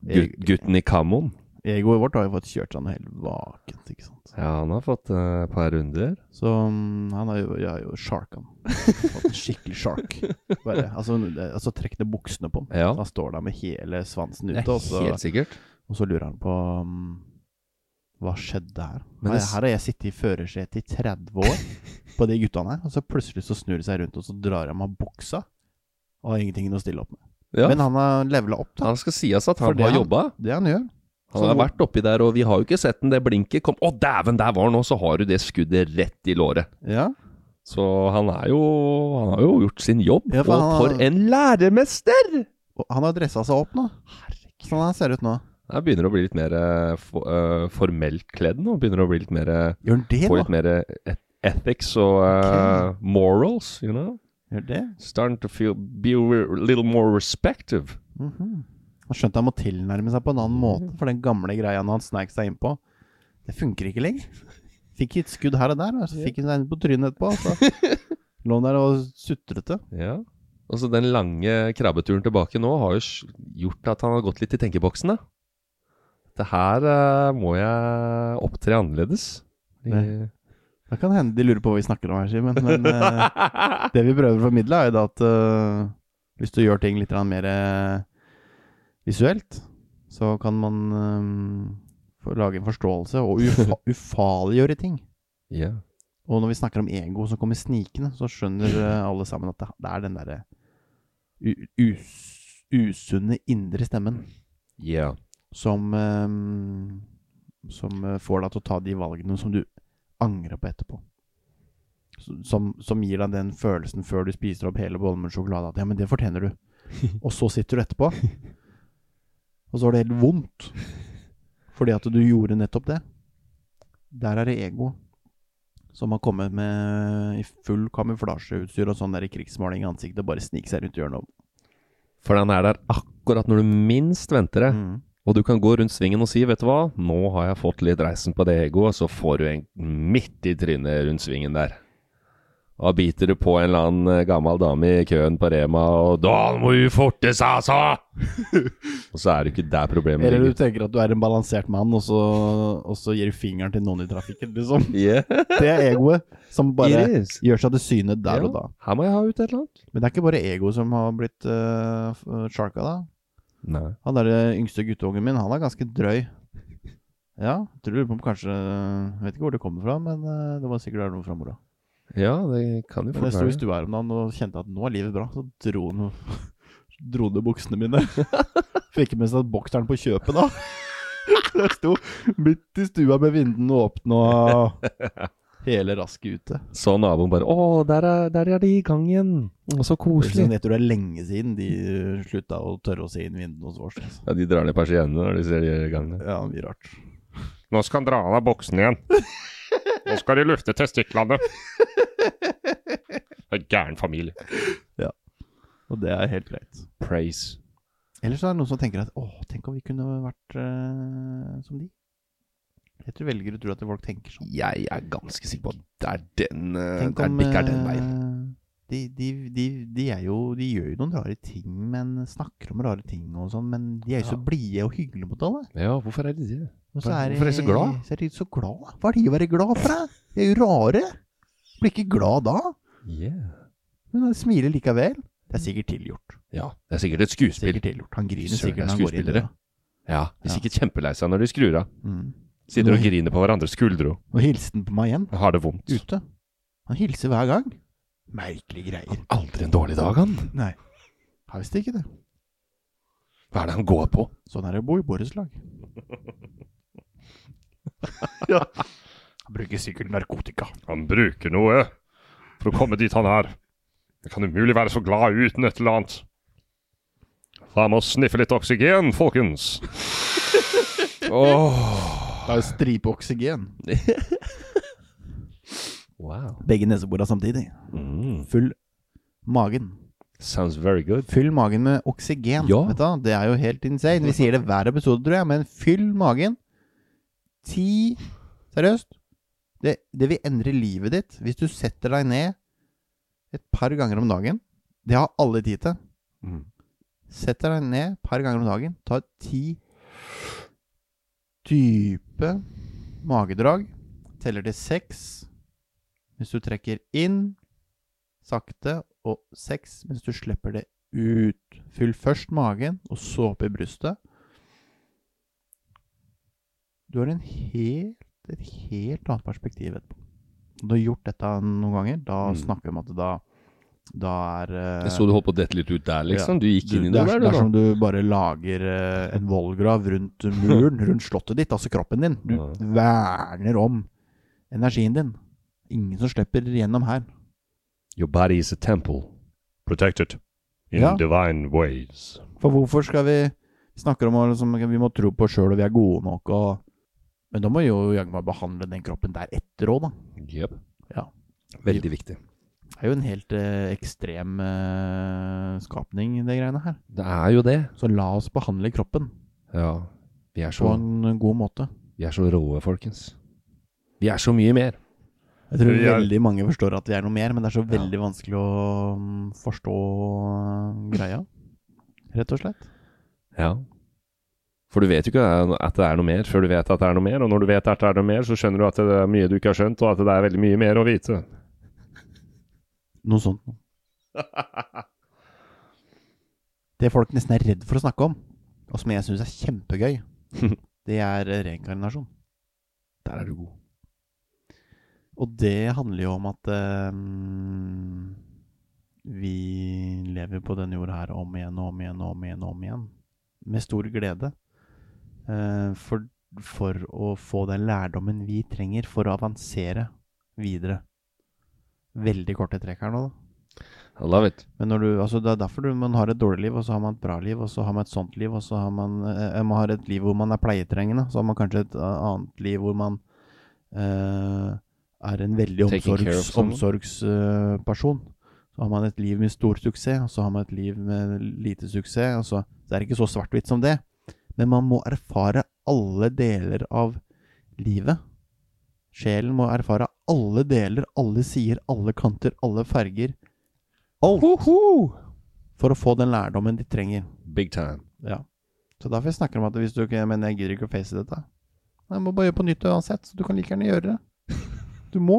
C: gut
D: Ego-
C: gutten i Kamon?
D: Egoet vårt har jo fått kjørt seg noe helt vakent, ikke sant.
C: Ja, han har fått eh, et par runder.
D: Så mm, han er jo, jeg er jo shark, han. Fått en Skikkelig shark. Bare, altså, det- altså trekk ned buksene på han.
C: Ja.
D: Han står der med hele svansen
C: Det
D: ute,
C: er
D: og så,
C: helt sikkert.
D: og så lurer han på mm, Hva skjedde her?
C: Men
D: her,
C: det s-
D: her har jeg sittet i førersetet i 30 år på de guttene her, og så plutselig så snur de seg rundt, og så drar de av buksa. Og har ingenting å stille opp med.
C: Ja.
D: Men han har levela opp, da.
C: han skal sies at
D: For
C: han
D: det
C: har
D: han-
C: jobba.
D: Det han gjør.
C: Han
D: Så
C: har
D: hvor-
C: vært oppi der, og vi har jo ikke sett den. Det blinket kom Å, dæven, der var den! Og så har du det skuddet rett i låret.
D: Ja.
C: Så han er jo Han har jo gjort sin jobb.
D: Ja, for
C: og
D: han-
C: for en læremester!
D: Og han har dressa seg opp nå. Sånn han ser ut nå.
C: Jeg begynner å bli litt mer eh, for, eh, formelt kledd nå. Begynner å bli litt mer eh,
D: Gjør han det,
C: Få
D: da?
C: litt mer eh, ethics og eh, morals, you know?
D: Gjør det?
C: Starting to feel Be a little more respective.
D: Mhm. Han skjønte han må tilnærme seg på en annen måte, for den gamle greia han snek seg innpå, det funker ikke lenger. Fikk et skudd her og der, og så fikk han seg en på trynet etterpå. og Så *laughs* lå han der og sutrete.
C: Ja. Og så den lange krabbeturen tilbake nå har jo s- gjort at han har gått litt i tenkeboksen, da. Det her eh, må jeg opptre annerledes.
D: Det- Det kan hende de lurer på hva vi snakker om her, Simen, men eh, det vi prøver å formidle, er jo da at eh, hvis du gjør ting litt grann mer eh, visuelt, så kan man eh, få lage en forståelse og ufa ufarliggjøre ting.
C: Ja.
D: Og når vi snakker om ego som kommer snikende, så skjønner eh, alle sammen at det, det er den derre u- us usunne indre stemmen
C: Ja.
D: som eh, Som eh, får deg til å ta de valgene som du angrer på etterpå. S- Som, som gir deg den følelsen før du spiser opp hele bollen med sjokolade at 'ja, men det fortjener du'. Og så sitter du etterpå, og så har det helt vondt fordi at du gjorde nettopp det. Der er det ego som har kommet med i full kamuflasjeutstyr og sånn der krigsmåling i ansiktet og bare sniker seg rundt hjørnet.
C: For den er der akkurat når du minst venter det.
D: Mm.
C: Og du kan gå rundt svingen og si 'vet du hva, nå har jeg fått litt reisen på det egoet', så får du en midt i trynet rundt svingen der. Da biter du på en eller annen eh, gammel dame i køen på Rema, og 'da må hun forte seg,
D: *laughs*
C: altså!' og så er det ikke der problemet
D: Eller du
C: ligger.
D: tenker at du er en balansert mann, og så, og så gir du fingeren til noen i trafikken, liksom. *laughs*
C: Yeah.
D: Det er egoet som bare
C: It is.
D: gjør seg til syne der
C: Ja.
D: og da.
C: Her må jeg ha ut et eller annet.
D: Men det er ikke bare egoet som har blitt eh, f- sharka, da.
C: Nei.
D: Han der eh, yngste guttungen min, han er ganske drøy. Ja, tror du på om kanskje eh, Jeg vet ikke hvor det kommer fra, men eh, det var sikkert noe fra mora.
C: Ja, det kan jo
D: Men
C: fort
D: jeg sto i
C: være.
D: stua her om dagen og kjente at nå er livet bra. Så dro han *laughs* dro ned buksene mine. Fikk med seg bokseren på kjøpet, da. *laughs* Så jeg sto midt i stua med vinduene åpne og hele rasket ute.
C: Så naboen bare 'Å, der er, der er de i gang igjen'. Å, Så koselig.
D: Sånn, jeg tror det er lenge siden de slutta å tørre å se inn vinduene hos oss. altså.
C: Ja, De drar ned persiennene når de ser de er i gang.
D: Ja, mye rart.
E: Nå skal han dra av deg boksen igjen. Nå skal de lufte testiklene. Det er en gæren familie.
D: Og det er helt greit.
C: Praise.
D: Ellers er det noen som tenker at åh, tenk om vi kunne vært eh, som de. Jeg tror velgere tror at folk tenker sånn.
C: Jeg er ganske sikker på at det er den eh,
D: Tenk
C: det er,
D: om
C: det ikke er den veien.
D: eh, De, de, de, de, er jo, de gjør jo noen rare ting, men snakker om rare ting og sånn, men de er jo så blide og hyggelige mot alle.
C: Ja, hvorfor er det det?
D: Og
C: Hva-
D: de-
C: hvorfor er de så glad?
D: Så er de så glad. da. Hva er de å være glad for, da? De er jo rare. Blir ikke glad da, men de smiler likevel. Det er sikkert tilgjort.
C: Ja, det er sikkert et skuespill.
D: Sikkert tilgjort. Han griner
C: Søren, det er
D: sikkert når han går inn.
C: skuespillere.
D: døra.
C: Ja, De er
D: Ja.
C: sikkert kjempelei seg når de skrur av.
D: Mm.
C: Sitter og griner på hverandres skuldre og
D: Og hilsen på meg igjen,
C: har det vondt.
D: ute. Han hilser hver gang. Merkelige greier.
C: Aldri en dårlig dag, han.
D: Nei, har visst ikke det.
C: Hva er det han går på?
D: Sånn er det å bo i borettslag. *laughs* ja. Bruker sikkert narkotika.
E: Han bruker noe for å komme dit han er. Det kan umulig være så glad uten et eller annet. Da må sniffe litt oksygen, folkens.
C: Åh,
D: Det er jo stripe oksygen.
C: wow.
D: Begge neseborene samtidig.
C: Mm.
D: Fyll magen.
C: Sounds very good.
D: Fyll magen med oksygen.
C: Ja.
D: Vet du, det er jo helt insane. Vi sier det hver episode, tror jeg, men fyll magen. Ti Seriøst. Det, det vil endre livet ditt hvis du setter deg ned et par ganger om dagen Det har alle tid til.
C: Mm.
D: Sett deg ned et par ganger om dagen. Ta ti dype magedrag. Teller til seks mens du trekker inn sakte, og seks mens du slipper det ut. Fyll først magen, og så opp i brystet. Du har en helt, et helt annet perspektiv etterpå. Når du har gjort dette noen ganger, da
C: Mm.
D: snakker vi om at da, da er eh,
C: Jeg så du holdt på å dette litt ut der, liksom. Du gikk
D: du,
C: inn i
D: det,
C: noe der,
D: er, det er som
C: du, da.
D: du bare lager eh, en vollgrav rundt *laughs* muren, rundt slottet ditt, altså kroppen din. Du
C: Ja.
D: verner om energien din. Ingen som slipper gjennom her.
C: Your body is a temple.
E: Protected in
D: Ja.
E: divine ways.
D: For hvorfor skal vi vi snakker om å liksom, vi må tro på oss sjøl og vi er gode nok og Men da må vi jo jaggu meg behandle den kroppen deretter òg, da.
C: Yep.
D: Ja.
C: Veldig viktig.
D: Det er jo en helt eh, ekstrem eh, skapning, det greiene her.
C: Det er jo det.
D: Så la oss behandle kroppen
C: Ja. Vi er
D: på
C: så,
D: en god måte.
C: vi er så råe, folkens. Vi er så mye mer.
D: Jeg tror
E: Jeg-
D: veldig mange forstår at vi er noe mer, men det er så veldig vanskelig å mm, forstå eh, greia. Rett og slett.
C: Ja. For du vet jo ikke eh, at det er noe mer før du vet at det er noe mer, og når du vet at det er noe mer, så skjønner du at det er mye du ikke har skjønt, og at det er veldig mye mer å vite.
D: Noe sånt noe. Det folk nesten er redd for å snakke om, og som jeg syns er kjempegøy, det er eh, reinkarnasjon.
C: Der er du god.
D: Og det handler jo om at eh, mm, vi lever på denne jorda her om igjen og om igjen og om igjen. og om igjen. Med stor glede. Eh, for, for å få den lærdommen vi trenger for å avansere videre. Veldig korte trekk her nå, da.
C: I love it.
D: Men når du, altså det er derfor du, man har et dårlig liv, og så har man et bra liv, og så har man et sånt liv, og så har man, eh, man har et liv hvor man er pleietrengende. Så har man kanskje et eh, annet liv hvor man eh, er en veldig
C: Taking care of someone.
D: omsorgsperson. Omsorgs, eh, person. så har man et liv med stor suksess, og så har man et liv med lite suksess. Og så, så er det ikke så svart-hvitt som det. Men man må erfare alle deler av livet. Sjelen må erfare alle deler, alle sider, alle kanter, alle farger. Alt. For å få den lærdommen de trenger.
C: Big time.
D: Ja. Så derfor snakker jeg om at hvis du ikke Men jeg gidder ikke å face dette. Jeg må bare gjøre på nytt uansett, så du kan like gjerne gjøre det. Du må.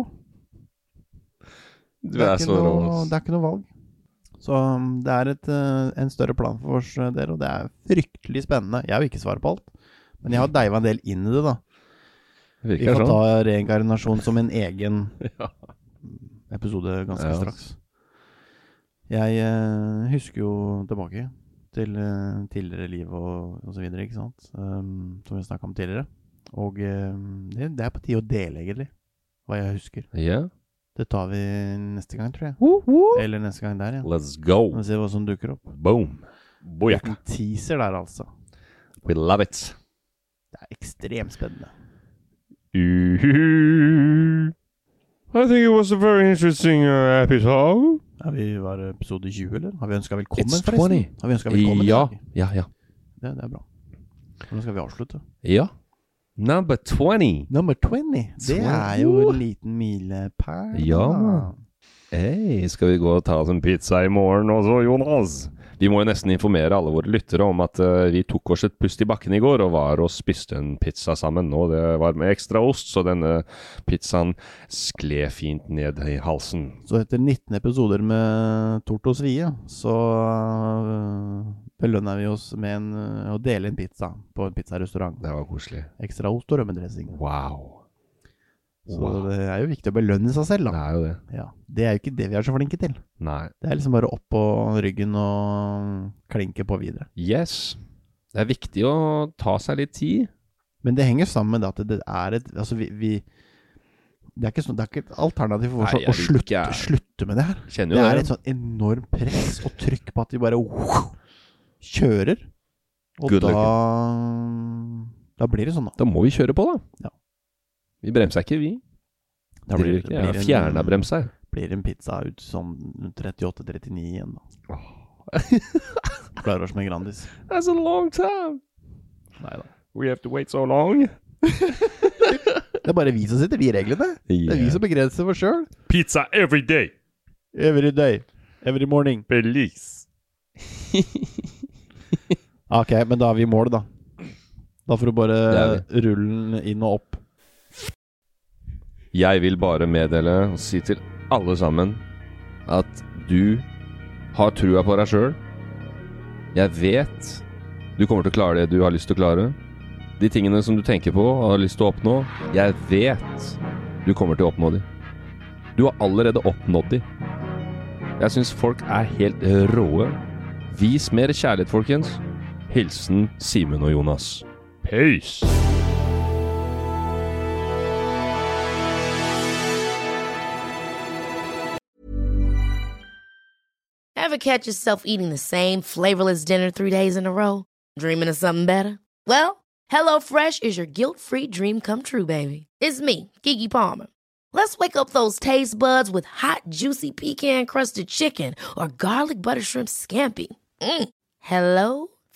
C: Du
D: Det
C: er
D: er, ikke
C: så rå.
D: noe,
C: ass.
D: det er ikke noe valg. Så um, det er et, eh, en større plan for oss eh, dere, og det er fryktelig spennende. Jeg har jo ikke svar på alt, men jeg har deiva en del inn i det, da.
C: Det
D: Vi får
C: Virker
D: ta
C: sånn.
D: reinkarnasjon som en *laughs* egen
C: Ja.
D: episode ganske
C: Ja.
D: straks. Jeg eh, husker jo tilbake til eh, tidligere liv og, og så videre, ikke sant? Um, som vi snakka om tidligere. Og eh, det, det er på tide å dele, egentlig, hva jeg husker.
C: Ja.
D: Det tar vi neste gang, tror jeg. Eller neste gang der, igjen.
C: Let's go.
D: Vi ser hva som dukker opp.
C: Boom. Boyaka.
D: En teaser der, altså.
C: We love it.
D: Det er ekstremt spennende.
E: Uhuhu. I think it was a very interesting uh, episode.
D: Er vi var episode 20, eller? Har vi ønska velkommen,
C: It's 20.
D: forresten? Har vi ønsket velkommen? i
C: Ja.
D: dag?
C: Ja, ja.
D: Det, det er bra. Nå skal vi avslutte.
C: Ja. Number 20.
D: Nummer 20. Det
C: 20.
D: er jo en liten milepæl.
C: Ja. Hey, skal vi gå og ta oss en pizza i morgen også, Jonas? Vi må jo nesten informere alle våre lyttere om at eh, vi tok oss et pust i bakken i går og var og spiste en pizza sammen. Og det var med ekstra ost, så denne pizzaen skled fint ned i halsen.
D: Så etter 19 episoder med Tort og Svie, så øh, belønner vi oss med en, øh, å dele en pizza på en pizzarestaurant.
C: Det var koselig.
D: Ekstra ost og rømmedressing.
C: Wow.
D: Så
C: Wow.
D: det er jo viktig å belønne seg selv,
C: Det
D: da.
C: er jo det.
D: Ja. Det er jo ikke det vi er så flinke til.
C: Nei.
D: Det er liksom bare opp på ryggen og klinke på videre.
C: Yes. Det er viktig å ta seg litt tid.
D: Men det henger sammen med det at det er et Altså, vi, vi det er, ikke sånn, det er ikke et alternativ for oss
C: Nei,
D: å
C: jeg vil
D: slutte,
C: ikke-
D: slutte med det her.
C: Kjenner
D: Det
C: jo
D: er et sånn enormt press og trykk på at de bare kjører. Og
C: Good
D: da
C: luck.
D: Da blir det sånn, da.
C: Da må vi kjøre på, da.
D: Ja.
C: Vi bremser ikke, vi.
D: Da
C: Driver ikke. Ja, Fjerna
D: en,
C: bremser.
D: blir en pizza ut som 38-39 igjen, da. Klarer oss med Grandis.
C: That's a long time.
D: Nei da.
E: We have to wait so long.
D: Det er bare vi som sitter de reglene. Det er vi som begrenser oss sjøl.
E: Pizza every day.
D: Every day. Every morning. *laughs*
E: Belize.
D: Ah, Ok, men da er vi i mål, da. Da får du bare
C: Det
D: rulle den inn og opp.
C: Jeg vil bare meddele og si til alle sammen at du har trua på deg sjøl. Jeg vet du kommer til å klare det du har lyst til å klare. De tingene som du tenker på og har lyst til å oppnå, jeg vet du kommer til å oppnå de. Du har allerede oppnådd de. Jeg syns folk er helt råe. Vis mer kjærlighet, folkens. Hilsen Simen og Jonas.
E: Peace.
F: Ever catch yourself eating the same flavorless dinner three days in a row? Dreaming of something better? Well, HelloFresh is your guilt free dream come true, baby. It's me, Kiki Palmer. Let's wake up those taste buds with hot, juicy pecan crusted chicken or garlic butter shrimp scampi. Mm. Hello